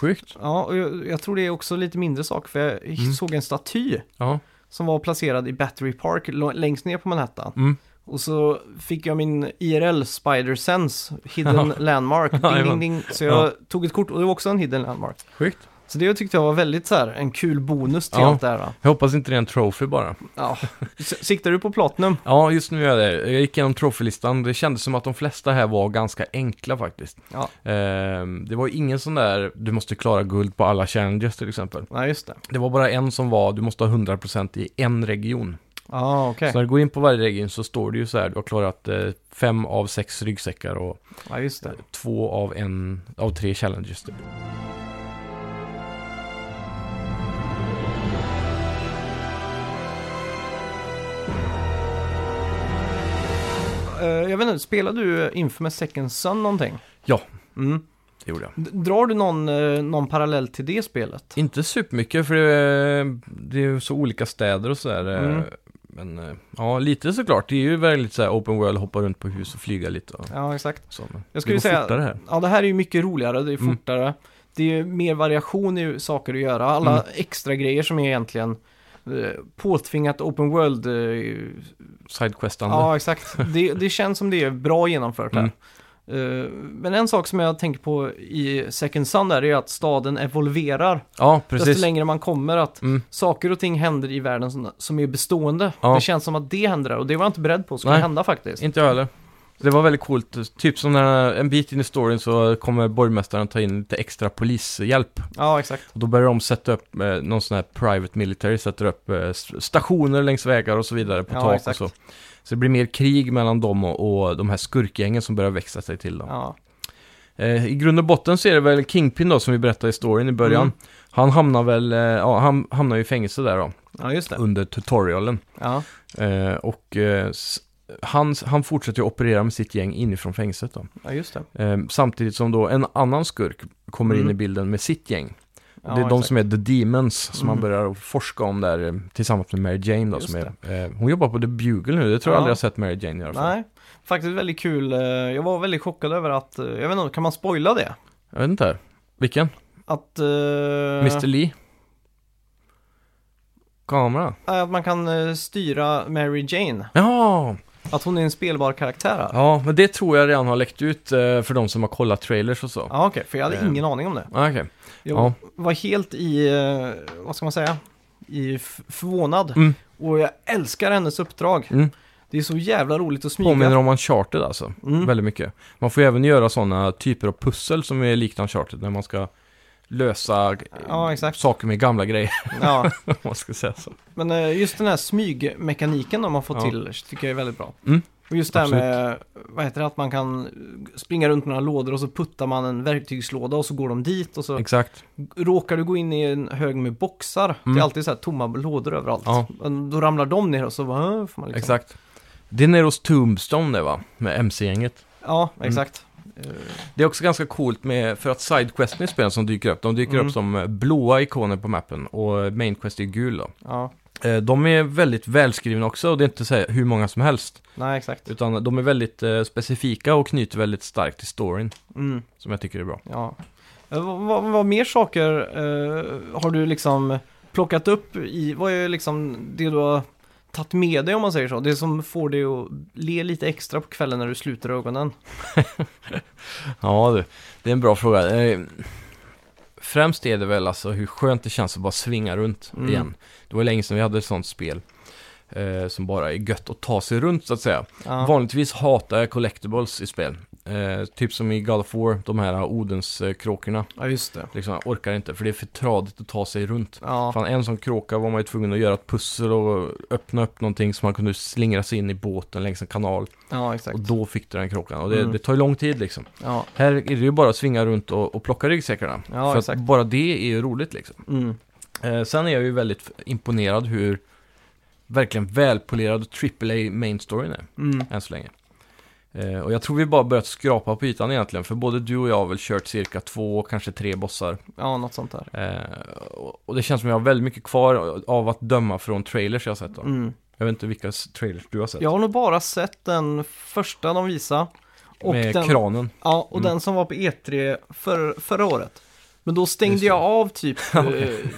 Speaker 2: Sjukt.
Speaker 1: Ja, och jag, jag tror det är också lite mindre sak för jag såg en staty
Speaker 2: Ja,
Speaker 1: som var placerad i Battery Park lo- längst ner på Manhattan.
Speaker 2: Mm.
Speaker 1: Och så fick jag min IRL Spider Sense Hidden Landmark, ding, ding,
Speaker 2: Jajamän.
Speaker 1: ding. Så jag tog ett kort och det var också en Hidden Landmark.
Speaker 2: sjukt.
Speaker 1: Så det tyckte jag var väldigt så här, en kul bonus till
Speaker 2: Ja.
Speaker 1: allt det här. va?
Speaker 2: Jag hoppas inte det är en trophy bara.
Speaker 1: Ja. S- Siktar du på Platinum?
Speaker 2: Ja, just nu är det. Jag gick igenom trofélistan. Det kändes som att de flesta här var ganska enkla faktiskt.
Speaker 1: Ja,
Speaker 2: Ehm, det var ingen sån där, du måste klara guld på alla challenges till exempel.
Speaker 1: nej just det.
Speaker 2: Det var bara en som var, du måste ha 100% i en region.
Speaker 1: Ja, okej.
Speaker 2: Så när du går in på varje region så står det ju så här, du har klarat eh, fem av sex ryggsäckar och
Speaker 1: Ja, just det.
Speaker 2: två av en, av tre challenges. Typ.
Speaker 1: Eh, jag vet inte, spelar du Infamous Second Son någonting?
Speaker 2: Ja.
Speaker 1: Mm.
Speaker 2: Det gjorde jag.
Speaker 1: D- Drar du någon, eh, någon parallell till det spelet?
Speaker 2: Inte supermycket för det, det är ju så olika städer och sådär.
Speaker 1: Mm.
Speaker 2: Men eh, ja, lite såklart. Det är ju väldigt så här open world, hoppa runt på hus och flyga lite och
Speaker 1: Ja, exakt.
Speaker 2: så. Men
Speaker 1: Jag skulle
Speaker 2: det går
Speaker 1: säga-
Speaker 2: fortare här.
Speaker 1: Ja, det här är ju mycket roligare, det är
Speaker 2: Mm.
Speaker 1: fortare. Det är ju mer variation i saker att göra. Alla
Speaker 2: Mm.
Speaker 1: extra grejer som är egentligen eh, påtvingat open world. eh,
Speaker 2: Sidequestande.
Speaker 1: Ja, exakt. Det, det känns som det är bra genomfört här.
Speaker 2: Mm.
Speaker 1: Eh, Men en sak som jag tänker på i Second Sun där är att staden evolverar.
Speaker 2: ja,
Speaker 1: Desto
Speaker 2: precis.
Speaker 1: längre man kommer att
Speaker 2: Mm.
Speaker 1: saker och ting händer i världen som, som är bestående.
Speaker 2: Ja.
Speaker 1: Det känns som att det händer där och det var jag inte beredd på skulle
Speaker 2: Nej.
Speaker 1: hända faktiskt.
Speaker 2: Inte jag heller. Det var väldigt coolt. Typ som när en bit in i storyn så kommer borgmästaren ta in lite extra polishjälp.
Speaker 1: Ja, exakt.
Speaker 2: Och då börjar de sätta upp eh, någon sån här private military, sätter upp eh, s- stationer längs vägar och så vidare på
Speaker 1: Ja,
Speaker 2: tak
Speaker 1: exakt.
Speaker 2: och så. Så det blir mer krig mellan dem och, och de här skurkgängen som börjar växa sig till. Då.
Speaker 1: Ja,
Speaker 2: Eh, I grund och botten så är det väl Kingpin då som vi berättade i storyn i början.
Speaker 1: Mm.
Speaker 2: Han hamnar väl, eh, ja han hamnar ju i fängelse där då,
Speaker 1: ja just det.
Speaker 2: under tutorialen.
Speaker 1: Ja,
Speaker 2: Eh, och eh, s- han, han fortsätter ju operera med sitt gäng inifrån fängelset då.
Speaker 1: ja just det.
Speaker 2: Eh, samtidigt som då en annan skurk kommer in
Speaker 1: Mm.
Speaker 2: i bilden med sitt gäng.
Speaker 1: Ja,
Speaker 2: det är de
Speaker 1: exakt.
Speaker 2: som är The Demons
Speaker 1: Mm.
Speaker 2: som han börjar att forska om där eh, tillsammans med Mary Jane då,
Speaker 1: Just
Speaker 2: som är, eh, Hon jobbar på The Bugle nu, det tror
Speaker 1: Ja.
Speaker 2: jag aldrig jag sett Mary Jane göra förut.
Speaker 1: Nej, faktiskt väldigt kul. Eh, Jag var väldigt chockad över att, eh, jag vet inte, kan man spoila det?
Speaker 2: Jag vet inte. Vilken?
Speaker 1: Att, eh,
Speaker 2: Mr Lee? Kamera?
Speaker 1: att man kan eh, styra Mary Jane.
Speaker 2: Ja!
Speaker 1: Att hon är en spelbar karaktär här. Ja,
Speaker 2: Ja, men det tror jag redan har läckt ut eh, för de som har kollat trailers och så.
Speaker 1: okej, för jag hade
Speaker 2: Eh.
Speaker 1: ingen aning om det.
Speaker 2: Ah, Okej.
Speaker 1: Jag
Speaker 2: Ja.
Speaker 1: var helt i, eh, vad ska man säga, i f- förvånad.
Speaker 2: Mm.
Speaker 1: Och jag älskar hennes uppdrag.
Speaker 2: Mm.
Speaker 1: Det är så jävla roligt att smyga.
Speaker 2: Påminner om Uncharted alltså,
Speaker 1: Mm.
Speaker 2: väldigt mycket. Man får ju även göra sådana typer av pussel som är likt Uncharted när man ska lösa eh,
Speaker 1: Ja, exakt.
Speaker 2: saker med gamla grejer,
Speaker 1: Ja.
Speaker 2: om man ska säga så.
Speaker 1: Men eh, just den här smygmekaniken de har fått
Speaker 2: Ja.
Speaker 1: till tycker jag är väldigt bra.
Speaker 2: Mm.
Speaker 1: Och just det här med, vad heter det, att man kan springa runt några lådor och så puttar man en verktygslåda och så går de dit och så
Speaker 2: Exakt.
Speaker 1: råkar du gå in i en hög med boxar. Det
Speaker 2: Mm.
Speaker 1: är alltid så här tomma lådor överallt.
Speaker 2: Ja.
Speaker 1: Men Då ramlar de ner och så bara, "Äh", får man liksom...
Speaker 2: Exakt. Det är nere hos Tombstone det va, med MC-gänget.
Speaker 1: Ja,
Speaker 2: Mm.
Speaker 1: exakt. Eh,
Speaker 2: Det är också ganska coolt med, för att sidequesten i spelen som dyker upp, de dyker
Speaker 1: Mm.
Speaker 2: upp som eh, blåa ikoner på mappen och mainquest är gul då.
Speaker 1: ja,
Speaker 2: Eh, De är väldigt välskrivna också och det är inte så här hur många som helst.
Speaker 1: nej exakt.
Speaker 2: Utan de är väldigt eh, specifika och knyter väldigt starkt till storyn.
Speaker 1: Mm,
Speaker 2: Som jag tycker är bra.
Speaker 1: ja. Eh, vad, vad, vad mer saker eh, har du liksom plockat upp i, vad är liksom det du har tagit med dig om man säger så. Det som får dig att le lite extra på kvällen när du sluter ögonen.
Speaker 2: Ja du, det är en bra fråga. Eh, Främst är det väl alltså hur skönt det känns att bara svinga runt
Speaker 1: Mm.
Speaker 2: igen. Det var länge sedan vi hade ett sånt spel. eh, Som bara är gött att ta sig runt så att säga.
Speaker 1: Ja.
Speaker 2: Vanligtvis hatar jag collectibles i spel. Eh, typ som i God of War, de här Odens-kråkorna.
Speaker 1: ja, just det.
Speaker 2: Liksom, jag orkar inte, för det är för tradigt att ta sig runt.
Speaker 1: Ja,
Speaker 2: Fan, en sån kråka var man ju tvungen att göra ett pussel och öppna upp någonting så man kunde slingra sig in i båten längs en kanal.
Speaker 1: ja exakt.
Speaker 2: Och då fick du den kråkan. Och det,
Speaker 1: Mm.
Speaker 2: det tar ju lång tid liksom.
Speaker 1: Ja,
Speaker 2: Här är det ju bara att svinga runt och, och plocka ryggsäckarna.
Speaker 1: Ja,
Speaker 2: för
Speaker 1: exakt.
Speaker 2: att bara det är ju roligt liksom.
Speaker 1: mm.
Speaker 2: Eh, sen är jag ju väldigt imponerad hur verkligen välpolerad AAA main storyn är,
Speaker 1: Mm.
Speaker 2: än så länge. Eh, och jag tror vi bara börjat skrapa på ytan egentligen, för både du och jag har väl kört cirka två, kanske tre bossar.
Speaker 1: ja, något sånt där.
Speaker 2: Eh, och, och det känns som jag har väldigt mycket kvar av att döma från trailers jag har sett då.
Speaker 1: Mm.
Speaker 2: Jag vet inte vilka s- trailers du har sett.
Speaker 1: Jag har nog bara sett den första de visade. Och
Speaker 2: Med
Speaker 1: den,
Speaker 2: kranen.
Speaker 1: Ja, och
Speaker 2: Mm.
Speaker 1: den som var på E3 för, förra året. Men då
Speaker 2: Just
Speaker 1: stängde
Speaker 2: det.
Speaker 1: jag av typ eh,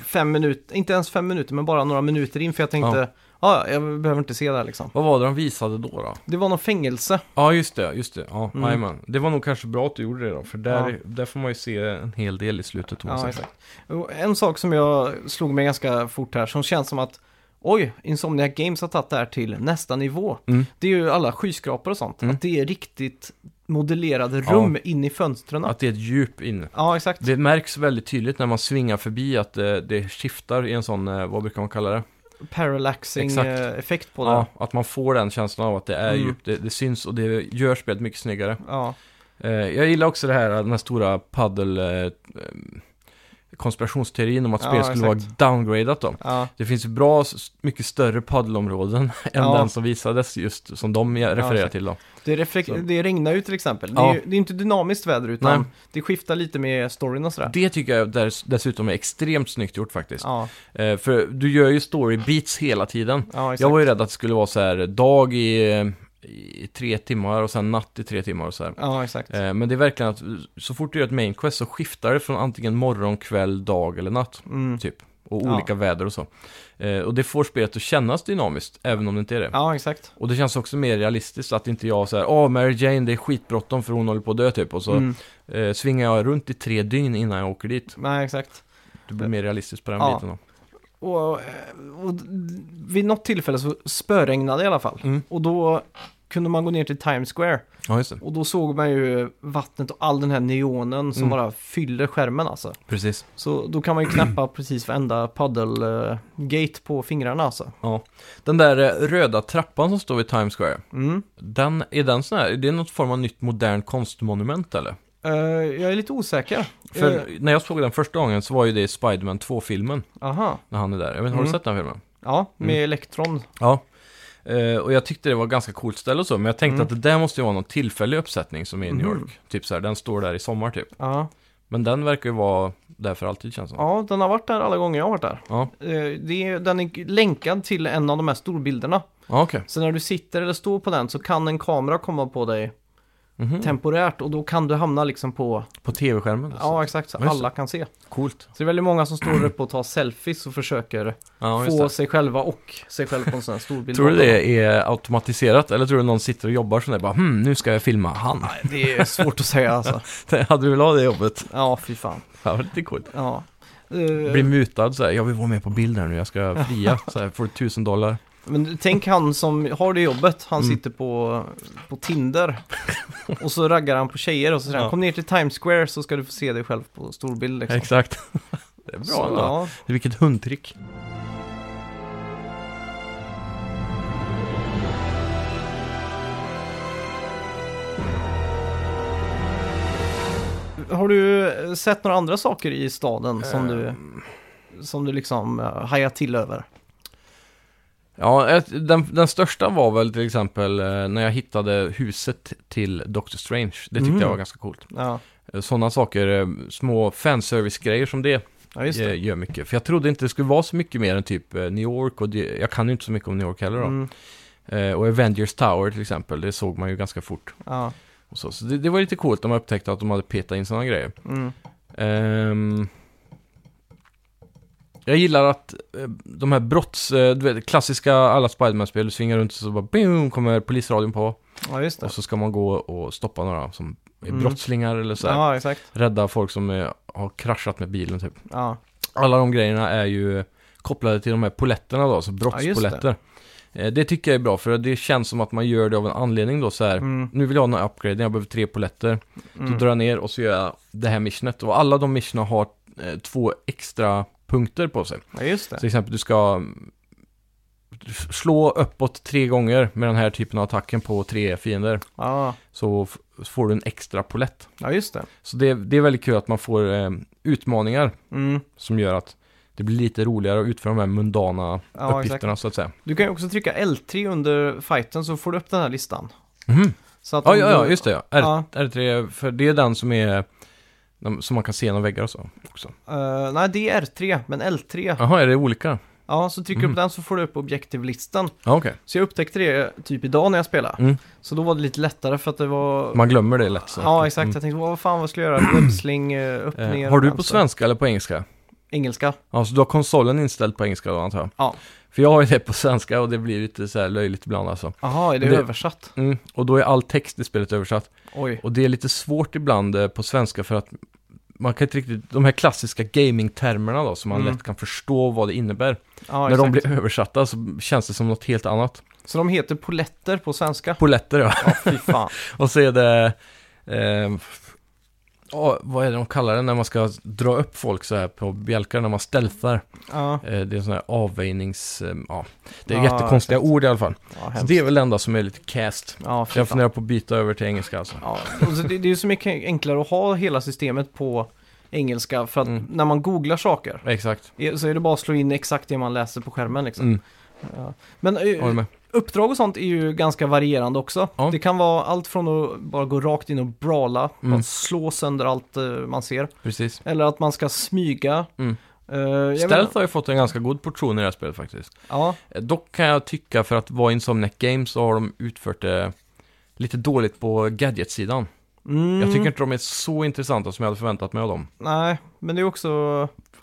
Speaker 1: fem minuter, inte ens fem minuter, men bara några minuter in för jag tänkte, ja, jag behöver inte se det här liksom.
Speaker 2: Vad var det de visade då då?
Speaker 1: Det var någon fängelse.
Speaker 2: Ja, just det. Just det. Ja,
Speaker 1: Mm.
Speaker 2: jajamän. det var nog kanske bra att du gjorde det då, för där,
Speaker 1: Ja.
Speaker 2: där får man ju se en hel del i slutet. om man
Speaker 1: Ja,
Speaker 2: säger.
Speaker 1: exakt. Och En sak som jag slog mig ganska fort här, som känns som att Oj, Insomniac Games har tagit det här till nästa nivå.
Speaker 2: Mm.
Speaker 1: Det är ju alla skyskrapor och sånt.
Speaker 2: Mm.
Speaker 1: Att det är riktigt modellerade
Speaker 2: Ja.
Speaker 1: rum in i fönstren.
Speaker 2: Att det är ett djup inne.
Speaker 1: Ja, exakt.
Speaker 2: Det märks väldigt tydligt när man svingar förbi att det, det skiftar i en sån, eh, vad brukar man kalla det? Exakt.
Speaker 1: Parallaxing-effekt eh, på det.
Speaker 2: Ja, att man får den känslan av att det är
Speaker 1: Mm.
Speaker 2: djupt, det, det syns och det gör spelet mycket snyggare.
Speaker 1: Ja.
Speaker 2: Eh, jag gillar också det här, eh, den här stora paddel eh, eh, konspirationsteorin om att
Speaker 1: Ja,
Speaker 2: spelet skulle
Speaker 1: exakt.
Speaker 2: vara downgradat då.
Speaker 1: ja.
Speaker 2: Det finns ju bra, s- mycket större paddelområden än
Speaker 1: Ja.
Speaker 2: den som visades just, som de refererar
Speaker 1: exakt.
Speaker 2: till då.
Speaker 1: Det,
Speaker 2: Så.
Speaker 1: reflek- det regnar ju till exempel. Det,
Speaker 2: Ja.
Speaker 1: är ju, det är inte dynamiskt väder utan
Speaker 2: Nej.
Speaker 1: det skiftar lite med storyn och sådär.
Speaker 2: Det tycker jag dess- dessutom är extremt snyggt gjort faktiskt.
Speaker 1: Ja,
Speaker 2: Eh, för du gör ju story beats hela tiden.
Speaker 1: ja exakt.
Speaker 2: Jag var ju rädd att det skulle vara så här dag i, i tre timmar och sen natt i tre timmar och så här.
Speaker 1: Ja, exakt.
Speaker 2: Eh, Men det är verkligen att så fort du gör ett main quest så skiftar det från antingen morgon, kväll, dag eller natt.
Speaker 1: Mm.
Speaker 2: Typ. Och
Speaker 1: Ja.
Speaker 2: olika väder och så. Eh, Och det får spelet att kännas dynamiskt, även om det inte är det.
Speaker 1: Ja, exakt.
Speaker 2: Och det känns också mer realistiskt att inte jag så här, åh Mary Jane det är skitbråttom för hon håller på att dö typ. Och så
Speaker 1: Mm.
Speaker 2: eh, svingar jag runt i tre dygn innan jag åker dit.
Speaker 1: Nej, exakt.
Speaker 2: Det blir mer realistiskt på den
Speaker 1: Eh, Ja.
Speaker 2: biten då.
Speaker 1: Och, eh, och d- vid något tillfälle så spöregnade det i alla fall.
Speaker 2: Mm.
Speaker 1: Och då kunde man gå ner till Times Square
Speaker 2: Ja, just det.
Speaker 1: och då såg man ju vattnet och all den här neonen som
Speaker 2: Mm.
Speaker 1: bara fyller skärmen alltså.
Speaker 2: Precis.
Speaker 1: Så då kan man ju knäppa precis varenda paddel-gate på fingrarna alltså.
Speaker 2: Den där eh, röda trappan som står vid Times Square.
Speaker 1: Mm.
Speaker 2: Den, är den sån här, det är något form av nytt modernt konstmonument eller?
Speaker 1: Eh, jag är lite osäker.
Speaker 2: För
Speaker 1: Eh,
Speaker 2: när jag såg den första gången så var ju det i Spiderman 2-filmen
Speaker 1: aha.
Speaker 2: när han är där. Jag vet, inte, har du
Speaker 1: Mm.
Speaker 2: sett den filmen?
Speaker 1: Ja, med
Speaker 2: Mm.
Speaker 1: Electron.
Speaker 2: Ja. Eh, och jag tyckte det var ganska coolt ställe och så, men jag tänkte
Speaker 1: Mm.
Speaker 2: att det där måste ju vara någon tillfällig uppsättning som är i New
Speaker 1: Mhm.
Speaker 2: York. Typ så här, den står där i sommar typ.
Speaker 1: Ja.
Speaker 2: Men den verkar ju vara där för alltid känns det som.
Speaker 1: ja, den har varit där alla gånger jag har varit där.
Speaker 2: Ja,
Speaker 1: Eh, Det är, den är länkad till en av de här storbilderna.
Speaker 2: ja okej.
Speaker 1: Så när du sitter eller står på den så kan en kamera komma på dig
Speaker 2: Mhm.
Speaker 1: temporärt och då kan du hamna liksom på...
Speaker 2: På tv-skärmen? alltså.
Speaker 1: Ja, exakt. Så
Speaker 2: Ja, just
Speaker 1: alla kan se.
Speaker 2: Coolt.
Speaker 1: Så det är väldigt många som står uppe och tar selfies och försöker
Speaker 2: Ja, just
Speaker 1: få
Speaker 2: det.
Speaker 1: sig själva och sig själv på en sån här storbild.
Speaker 2: Tror du det är automatiserat eller tror du någon sitter och jobbar så där bara hmm, nu ska jag filma han.
Speaker 1: Det är svårt att säga alltså.
Speaker 2: Hade du velat ha det jobbet?
Speaker 1: Ja, fy fan.
Speaker 2: Ja, det var lite coolt.
Speaker 1: Ja. Eh,
Speaker 2: Blir mutad så här, jag vill vara med på bild här nu, jag ska fria. Så här, får du tusen dollar.
Speaker 1: Men tänk han som har det jobbet, han
Speaker 2: Mm.
Speaker 1: sitter på, på Tinder och så raggar han på tjejer och så säger han
Speaker 2: Ja.
Speaker 1: kom ner till Times Square så ska du få se dig själv på storbild liksom.
Speaker 2: Exakt. Det är bra
Speaker 1: så,
Speaker 2: ändå.
Speaker 1: ja.
Speaker 2: Vilket hundtrick.
Speaker 1: Har du eh, sett några andra saker i staden som du,
Speaker 2: Ehm.
Speaker 1: som du liksom eh, hajar till över?
Speaker 2: Ja, ett- den, den största var väl till exempel eh, när jag hittade huset till Doctor Strange. Det tyckte
Speaker 1: Mm.
Speaker 2: jag var ganska coolt.
Speaker 1: Ja,
Speaker 2: Sådana saker, eh, små fanservice-grejer som det,
Speaker 1: ja just det.
Speaker 2: eh, gör mycket. För jag trodde inte det skulle vara så mycket mer än typ eh, New York och det, jag kan ju inte så mycket om New York heller då.
Speaker 1: Mm,
Speaker 2: Eh, och Avengers Tower till exempel, det såg man ju ganska fort.
Speaker 1: ja,
Speaker 2: Och så så det, det var lite coolt, de upptäckte att de hade petat in sådana grejer.
Speaker 1: mm.
Speaker 2: Ehm, Jag gillar att eh, de här brotts... eh, Du vet, klassiska alla Spiderman-spel, du svingar runt och så bara boom, kommer polisradion på.
Speaker 1: Ja, just det.
Speaker 2: Och så ska man gå och stoppa några som är
Speaker 1: Mm.
Speaker 2: brottslingar eller så här.
Speaker 1: Ja, exakt.
Speaker 2: Rädda folk som eh, har kraschat med bilen typ.
Speaker 1: Ja,
Speaker 2: Alla de grejerna är ju kopplade till de här poletterna då, alltså brottspoletter. Eh, det tycker jag är bra för det känns som att man gör det av en anledning då så här.
Speaker 1: mm,
Speaker 2: Nu vill jag ha några upgrade, jag behöver tre poletter. Då
Speaker 1: mm.
Speaker 2: drar jag ner och så gör jag det här missionet. Och alla de missionerna har eh, två extra punkter på sig.
Speaker 1: ja just det.
Speaker 2: Till exempel du ska mm, slå uppåt tre gånger med den här typen av attacken på tre fiender.
Speaker 1: Ja,
Speaker 2: Så f- får du en extra polett.
Speaker 1: ja just det.
Speaker 2: Så det, det är väldigt kul att man får eh, utmaningar
Speaker 1: Mm.
Speaker 2: som gör att det blir lite roligare att utföra de här mundana
Speaker 1: Ja, exakt.
Speaker 2: uppgifterna så att säga.
Speaker 1: Du kan ju också trycka L3 under fighten så får du upp den här listan.
Speaker 2: Mhm.
Speaker 1: Så att
Speaker 2: Ja,
Speaker 1: om
Speaker 2: ja,
Speaker 1: du-
Speaker 2: ja, just det. Ja. R,
Speaker 1: Ja.
Speaker 2: R3, för det är den som är de- som man kan se genom väggar och så också.
Speaker 1: Eh, nej, det är R3, men L3. Ja,
Speaker 2: Jaha, är det olika?
Speaker 1: så trycker du
Speaker 2: Mm.
Speaker 1: upp den så får du upp objektivlistan.
Speaker 2: Ja, okej.
Speaker 1: Så jag upptäckte det typ idag när jag spelade.
Speaker 2: Mm.
Speaker 1: Så då var det lite lättare för att det var...
Speaker 2: Man glömmer det lätt. Så.
Speaker 1: Ja, exakt.
Speaker 2: Mm.
Speaker 1: Jag tänkte, vad fan vad ska jag göra? Websling, eh, upp,
Speaker 2: Eh,
Speaker 1: ner,
Speaker 2: har du på
Speaker 1: vänster.
Speaker 2: svenska eller på engelska?
Speaker 1: Engelska.
Speaker 2: Ja, så du har konsolen inställd på engelska då antar jag?
Speaker 1: Ja.
Speaker 2: För jag har ju det på svenska och det blir lite så här löjligt ibland alltså.
Speaker 1: Jaha, är det,
Speaker 2: Det-
Speaker 1: översatt?
Speaker 2: Mm. Och då är all text i spelet översatt.
Speaker 1: Oj.
Speaker 2: Och det är lite svårt ibland eh, på svenska för att man kan inte riktigt, de här klassiska gaming-termerna då, som man
Speaker 1: Mm.
Speaker 2: lätt kan förstå vad det innebär.
Speaker 1: Ja,
Speaker 2: När
Speaker 1: exakt.
Speaker 2: de blir översatta så känns det som något helt annat.
Speaker 1: Så de heter poletter på svenska?
Speaker 2: Poletter ja.
Speaker 1: Ja, fy fan.
Speaker 2: Och så är det, eh, ja, vad är det de kallar det när man ska dra upp folk så här på bjälkar, när man stealthar.
Speaker 1: Ja,
Speaker 2: Eh, det är sån här avväjnings, eh, ja, det är
Speaker 1: Ja,
Speaker 2: jättekonstiga ord i alla fall.
Speaker 1: ja
Speaker 2: Så
Speaker 1: hemskt.
Speaker 2: det är väl det enda som är lite cast.
Speaker 1: Ja, fy
Speaker 2: Jag
Speaker 1: fan.
Speaker 2: funderar på att byta över till engelska alltså.
Speaker 1: Ja, och så det, det är ju så mycket enklare att ha hela systemet på engelska för att
Speaker 2: Mm.
Speaker 1: när man googlar saker
Speaker 2: Exakt,
Speaker 1: är- så är det bara att slå in exakt det man läser på skärmen liksom.
Speaker 2: mm,
Speaker 1: Ja. Men eh,
Speaker 2: håller med.
Speaker 1: uppdrag och sånt är ju ganska varierande också.
Speaker 2: Ja.
Speaker 1: Det kan vara allt från att bara gå rakt in och brala,
Speaker 2: Mm.
Speaker 1: bara slå sönder allt eh, man ser.
Speaker 2: Precis.
Speaker 1: Eller att man ska smyga.
Speaker 2: Mm.
Speaker 1: Eh, jag
Speaker 2: Stealth har ju fått en ganska god portion i det här spelet faktiskt.
Speaker 1: menar- Ja,
Speaker 2: Eh, Dock kan jag tycka för att vara Insomniac Games så har de utfört det lite dåligt på gadgetsidan.
Speaker 1: mm,
Speaker 2: Jag tycker inte de är så intressanta som jag hade förväntat mig av dem.
Speaker 1: Nej, men det är också...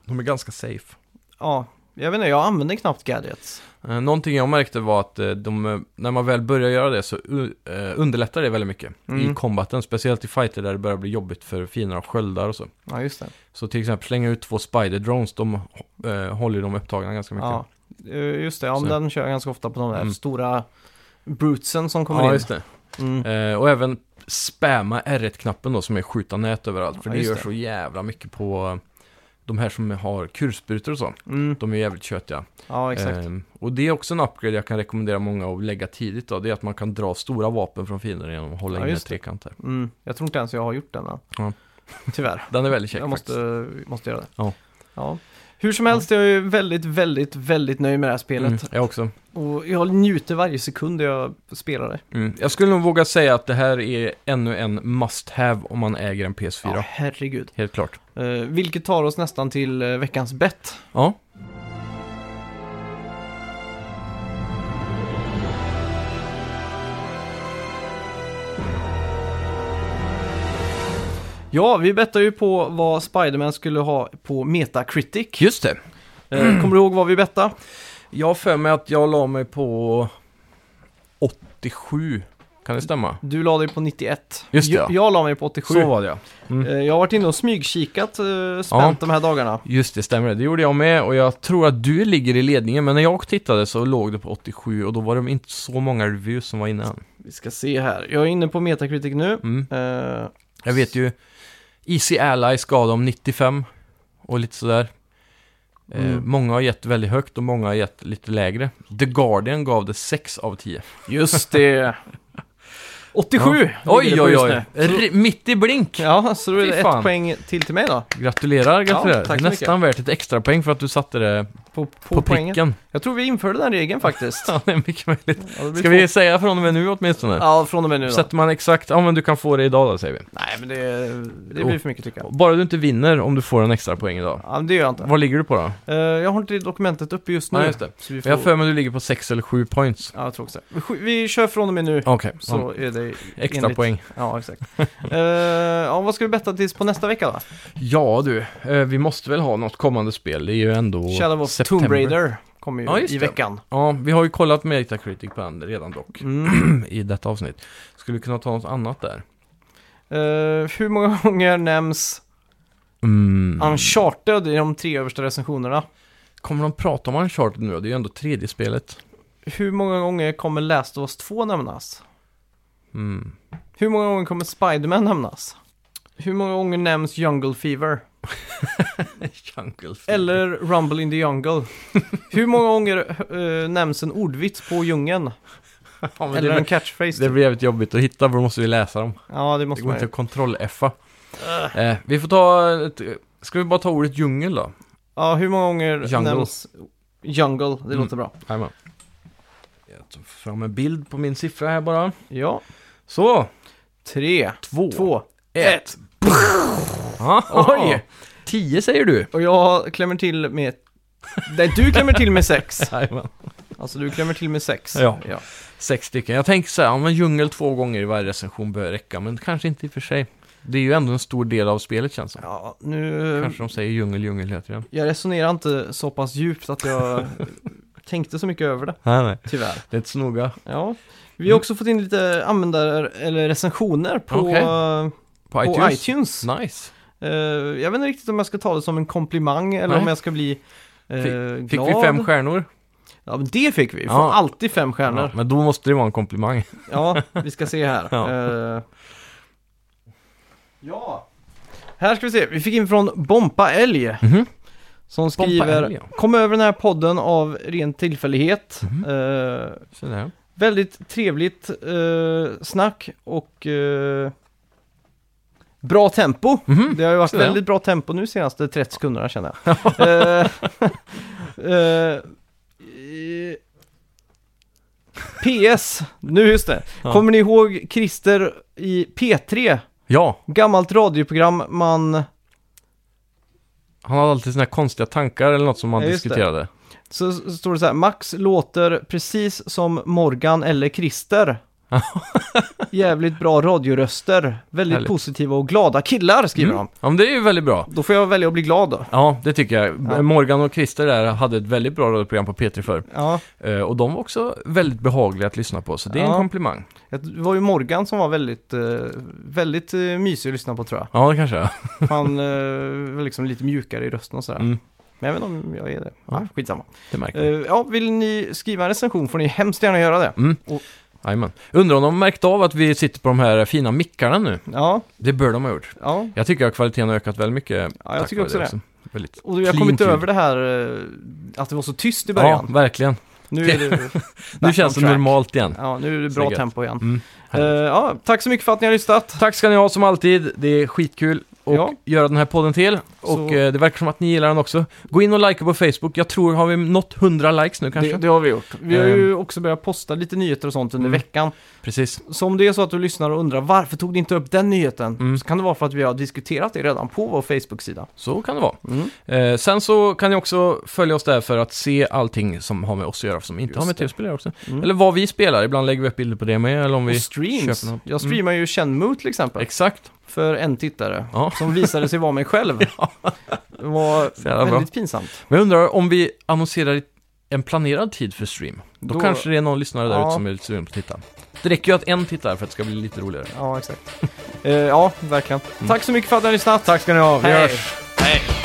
Speaker 2: De är ganska safe.
Speaker 1: Ja, jag vet inte, jag använder knappt gadgets.
Speaker 2: Eh, Någonting jag märkte var att eh, de, eh, när man väl börjar göra det så u- eh, underlättar det väldigt mycket
Speaker 1: Mm.
Speaker 2: i combaten. Speciellt i fighter där det börjar bli jobbigt för fiender och sköldar och så.
Speaker 1: Ja, just det.
Speaker 2: Så till exempel slänga ut två spider drones, de eh, håller ju dem upptagna ganska mycket.
Speaker 1: Ja, eh, just det. Ja, men
Speaker 2: Så.
Speaker 1: den kör jag ganska ofta på de där
Speaker 2: Mm.
Speaker 1: stora brutesen som kommer
Speaker 2: ja
Speaker 1: in.
Speaker 2: just det.
Speaker 1: Mm.
Speaker 2: Eh, och även spamma R1-knappen då som är skjuta nät överallt. För
Speaker 1: Ja,
Speaker 2: det
Speaker 1: just
Speaker 2: gör
Speaker 1: det.
Speaker 2: så jävla mycket på eh, de här som har kulsprutor och så.
Speaker 1: Mm.
Speaker 2: De är jävligt tjötiga.
Speaker 1: Ja, exakt.
Speaker 2: Eh, och det är också en upgrade jag kan rekommendera många att lägga tidigt då. Det är att man kan dra stora vapen från fiender genom att hålla
Speaker 1: Ja,
Speaker 2: in en
Speaker 1: just det.
Speaker 2: trekant där.
Speaker 1: Mm. Jag tror inte ens jag har gjort den än.
Speaker 2: Ja.
Speaker 1: Tyvärr.
Speaker 2: Den är väldigt käck
Speaker 1: jag
Speaker 2: faktiskt.
Speaker 1: måste, måste göra det.
Speaker 2: Ja.
Speaker 1: Ja. Hur som helst, jag är väldigt, väldigt, väldigt nöjd med det här
Speaker 2: Mm,
Speaker 1: spelet.
Speaker 2: jag också.
Speaker 1: Och jag njuter varje sekund jag spelar det.
Speaker 2: Mm. Jag skulle nog våga säga att det här är ännu en must have om man äger en PS4.
Speaker 1: Ja, herregud.
Speaker 2: Helt klart.
Speaker 1: Eh, vilket tar oss nästan till eh, veckans bett.
Speaker 2: Ja.
Speaker 1: Ja, vi bettade ju på vad Spiderman skulle ha på Metacritic.
Speaker 2: Just det. Mm.
Speaker 1: Eh, kommer du ihåg vad vi bettade?
Speaker 2: Jag har för mig att jag la mig på 87. Kan det stämma?
Speaker 1: Du la dig på 91.
Speaker 2: Just det, ja.
Speaker 1: Jag, jag la mig på 87.
Speaker 2: Så var det ja.
Speaker 1: Eh, Jag har varit inne och smygkikat eh, spänt de här dagarna.
Speaker 2: Just det, stämmer det. Det gjorde jag med och jag tror att du ligger i ledningen. Men när jag tittade så låg det på 87 och då var det inte så många reviews som var inne än.
Speaker 1: Vi ska se här. Jag är inne på Metacritic nu.
Speaker 2: Mm.
Speaker 1: Eh,
Speaker 2: Jag vet ju, Easy Allies gav dem 95 och lite sådär. Eh,
Speaker 1: Mm.
Speaker 2: många har gett väldigt högt och många har gett lite lägre. The Guardian gav det 6 av 10.
Speaker 1: just det. 87! ligger det på
Speaker 2: Oj, oj,
Speaker 1: just
Speaker 2: oj!
Speaker 1: nu.
Speaker 2: R- mitt i blink!
Speaker 1: Ja, så då är
Speaker 2: Fy
Speaker 1: det ett
Speaker 2: fan.
Speaker 1: poäng till till mig då.
Speaker 2: Gratulerar, gratulerar.
Speaker 1: tack så
Speaker 2: Nästan värt ett extra poäng för att du satte det
Speaker 1: På, på,
Speaker 2: På
Speaker 1: poängen.
Speaker 2: pricken.
Speaker 1: Jag tror vi införde den regeln faktiskt.
Speaker 2: Ja, det är mycket möjligt.
Speaker 1: Ja, det blir
Speaker 2: Ska
Speaker 1: två-
Speaker 2: vi säga från och med nu åtminstone?
Speaker 1: Ja, från och med nu då.
Speaker 2: Sätter man exakt, ja men du kan få det idag då säger vi.
Speaker 1: Nej, men det, det
Speaker 2: Oh.
Speaker 1: blir för mycket tycker jag.
Speaker 2: Bara du inte vinner om du får en extra poäng idag.
Speaker 1: Ja, men det gör jag inte.
Speaker 2: Vad ligger du på då?
Speaker 1: Eh, jag har inte det dokumentet uppe just nu.
Speaker 2: Nej, just det.
Speaker 1: Så vi får...
Speaker 2: Jag har för mig att du ligger på 6 eller 7 points.
Speaker 1: Ja, jag tror också det. Vi, sk- vi kör från och med nu.
Speaker 2: Okej,
Speaker 1: Så
Speaker 2: ja.
Speaker 1: är det
Speaker 2: extra
Speaker 1: enligt-
Speaker 2: poäng.
Speaker 1: Ja, exakt. Eh, ja, vad ska vi betta tills på nästa vecka då?
Speaker 2: Ja du, eh, vi måste väl ha något kommande spel. Det är ju ändå
Speaker 1: Shadow of
Speaker 2: september.
Speaker 1: Tomb Raider kommer ju
Speaker 2: Ja, just
Speaker 1: i
Speaker 2: det.
Speaker 1: veckan.
Speaker 2: Ja, vi har ju kollat Metacritic på den redan dock.
Speaker 1: Mm.
Speaker 2: I detta avsnitt. Skulle vi kunna ta något annat där?
Speaker 1: Eh, hur många gånger nämns
Speaker 2: Mm.
Speaker 1: Uncharted i de tre översta recensionerna?
Speaker 2: Kommer de prata om Uncharted nu då? Det är ju ändå tredje spelet.
Speaker 1: Hur många gånger kommer Last of Us 2 nämnas?
Speaker 2: Mm.
Speaker 1: Hur många gånger kommer Spiderman nämnas? Hur många gånger nämns Jungle Fever?
Speaker 2: Jungle Fever.
Speaker 1: Eller Rumble in the Jungle? Hur många gånger eh, nämns en ordvits på djungeln?
Speaker 2: Ja, men
Speaker 1: Eller
Speaker 2: det,
Speaker 1: en
Speaker 2: blir-
Speaker 1: catchphrase? typ.
Speaker 2: det blir jävligt jobbigt att hitta för då måste vi läsa dem.
Speaker 1: Ja, det
Speaker 2: Det
Speaker 1: måste
Speaker 2: går
Speaker 1: man
Speaker 2: inte
Speaker 1: ju.
Speaker 2: att kontroll-effa.
Speaker 1: Ah.
Speaker 2: Eh, vi får ta ett, Ska vi bara ta ordet djungel då?
Speaker 1: Ja, hur många gånger
Speaker 2: Jungle. Mm.
Speaker 1: nämns Jungle? Det låter bra.
Speaker 2: Jajamän. Jag tar fram en bild på min siffra här bara.
Speaker 1: Ja,
Speaker 2: Så!
Speaker 1: tre,
Speaker 2: Två,
Speaker 1: två.
Speaker 2: ett. Aha.
Speaker 1: Oj!
Speaker 2: Tio säger du.
Speaker 1: Och jag klämmer till med... Nej, du klämmer till med sex.
Speaker 2: Jajamän.
Speaker 1: Alltså du klämmer till med sex.
Speaker 2: Ja.
Speaker 1: ja.
Speaker 2: Sex stycken. Jag tänker så här, ja, men djungel två gånger i varje recension bör räcka, men kanske inte i och för sig. Det är ju ändå en stor del av spelet känns det som.
Speaker 1: Ja, nu...
Speaker 2: Kanske de säger djungel, djungel heter det.
Speaker 1: Jag resonerar inte så pass djupt att jag tänkte så mycket över det,
Speaker 2: Nej, nej.
Speaker 1: tyvärr.
Speaker 2: Det är inte så noga.
Speaker 1: Ja. Vi
Speaker 2: Mm.
Speaker 1: har också fått in lite användare, eller recensioner på,
Speaker 2: Okej.
Speaker 1: eh,
Speaker 2: På
Speaker 1: på
Speaker 2: iTunes.
Speaker 1: iTunes.
Speaker 2: Nice.
Speaker 1: Eh, jag vet inte riktigt om jag ska ta det som en komplimang eller
Speaker 2: Nej.
Speaker 1: om jag ska bli eh, glad.
Speaker 2: Fick vi fem stjärnor?
Speaker 1: Ja, men det fick vi. Vi får
Speaker 2: Ja.
Speaker 1: alltid fem stjärnor.
Speaker 2: men då måste det vara en komplimang.
Speaker 1: Ja, vi ska se här.
Speaker 2: Ja.
Speaker 1: Eh, ja. Här ska vi se, vi fick in från Bompa Älg.
Speaker 2: Mhm.
Speaker 1: Som skriver,
Speaker 2: Älg, ja.
Speaker 1: kom över den här podden av ren tillfällighet.
Speaker 2: Mhm.
Speaker 1: Eh,
Speaker 2: Så där.
Speaker 1: väldigt trevligt eh, snack och eh, bra tempo.
Speaker 2: Mhm.
Speaker 1: Det har ju varit
Speaker 2: Så där.
Speaker 1: väldigt bra tempo nu senaste 30 sekunderna känner jag. Eh, eh, eh, PS, nu just det.
Speaker 2: Ja.
Speaker 1: Kommer ni ihåg Christer i P3?
Speaker 2: Ja,
Speaker 1: Gammalt radioprogram man...
Speaker 2: han hade alltid såna här konstiga tankar eller något som man
Speaker 1: Ja, just det. Mm.
Speaker 2: diskuterade.
Speaker 1: Så, så står det så här, Max låter precis som Morgan eller Christer. Jävligt bra radioröster. Väldigt
Speaker 2: Härligt. Mm.
Speaker 1: positiva och glada killar skriver han.
Speaker 2: Ja, men det är ju väldigt bra.
Speaker 1: Då får jag välja att bli glad då.
Speaker 2: Ja, det tycker jag.
Speaker 1: Ja.
Speaker 2: Morgan och Christer där hade ett väldigt bra radioprogram på P3 förr.
Speaker 1: Ja.
Speaker 2: Eh, Och de var också väldigt behagliga att lyssna på, så det är
Speaker 1: Ja.
Speaker 2: en komplimang.
Speaker 1: Det var ju Morgan som var väldigt, eh, väldigt eh, mysig att lyssna på tror jag.
Speaker 2: Ja, det kanske är.
Speaker 1: Han eh, var liksom lite mjukare i rösten och sådär.
Speaker 2: Mm.
Speaker 1: Men jag vet inte om jag är det.
Speaker 2: Ja.
Speaker 1: Ja. Skitsamma.
Speaker 2: Det märker
Speaker 1: Eh,
Speaker 2: man.
Speaker 1: ja, vill ni skriva en recension får ni hemskt gärna göra det.
Speaker 2: Jajamän. Undrar om de har märkt av att vi sitter på de här fina mickarna nu.
Speaker 1: Ja,
Speaker 2: Det bör de ha gjort.
Speaker 1: ja.
Speaker 2: Jag tycker att kvaliteten har ökat väldigt mycket.
Speaker 1: Ja, jag
Speaker 2: tack
Speaker 1: tycker
Speaker 2: vare
Speaker 1: också det.
Speaker 2: Väldigt.
Speaker 1: Och vi har
Speaker 2: Clean
Speaker 1: kommit
Speaker 2: ljud.
Speaker 1: över det här eh, att det var så tyst i
Speaker 2: Ja,
Speaker 1: början.
Speaker 2: verkligen.
Speaker 1: Nu är det
Speaker 2: Nu
Speaker 1: back
Speaker 2: känns
Speaker 1: on
Speaker 2: det
Speaker 1: track.
Speaker 2: normalt igen.
Speaker 1: Ja, nu är det
Speaker 2: Så
Speaker 1: bra
Speaker 2: gött.
Speaker 1: tempo igen.
Speaker 2: Mm.
Speaker 1: Eh, ja, tack så mycket för att ni har lyssnat.
Speaker 2: Tack ska ni ha som alltid. Det är skitkul att
Speaker 1: Ja.
Speaker 2: göra den här podden till. Och
Speaker 1: Så-
Speaker 2: eh, det verkar som att ni gillar den också. Gå in och likea på Facebook. Jag tror, har vi nått 100 likes nu kanske?
Speaker 1: Det, det har vi gjort. Vi har
Speaker 2: Ehm.
Speaker 1: ju också börjat posta lite nyheter och sånt under
Speaker 2: Mm.
Speaker 1: veckan.
Speaker 2: Precis.
Speaker 1: Så om det är så att du lyssnar och undrar varför tog ni inte upp den nyheten?
Speaker 2: Mm.
Speaker 1: Så kan det vara för att vi har diskuterat det redan på vår Facebook-sida.
Speaker 2: Så kan det vara. Eh, sen så kan ni också följa oss där för att se allting som har med oss att göra, som inte
Speaker 1: Just
Speaker 2: har med
Speaker 1: det.
Speaker 2: tv-spel att göra också.
Speaker 1: Mm.
Speaker 2: Eller vad vi spelar. Ibland lägger vi upp bilder på det med, eller om vi...
Speaker 1: och streams.
Speaker 2: köper något. Mm.
Speaker 1: Jag streamar ju Shenmue till exempel.
Speaker 2: Exakt.
Speaker 1: För en tittare.
Speaker 2: Ja.
Speaker 1: Som visade sig vara mig själv. Det var
Speaker 2: jävla bra.
Speaker 1: väldigt pinsamt.
Speaker 2: Men jag undrar om vi annonserar en planerad tid för stream. Då,
Speaker 1: Då-
Speaker 2: kanske det är någon lyssnare där
Speaker 1: Ja.
Speaker 2: ute som är lite sugen på att titta. Det räcker ju att en tittar för att det ska bli lite roligare. Mm.
Speaker 1: Ja, exakt. Eh, ja, verkligen. Tack så mycket för att ni har lyssnat. Tack ska ni ha.
Speaker 2: Vi hörs.
Speaker 1: Hej.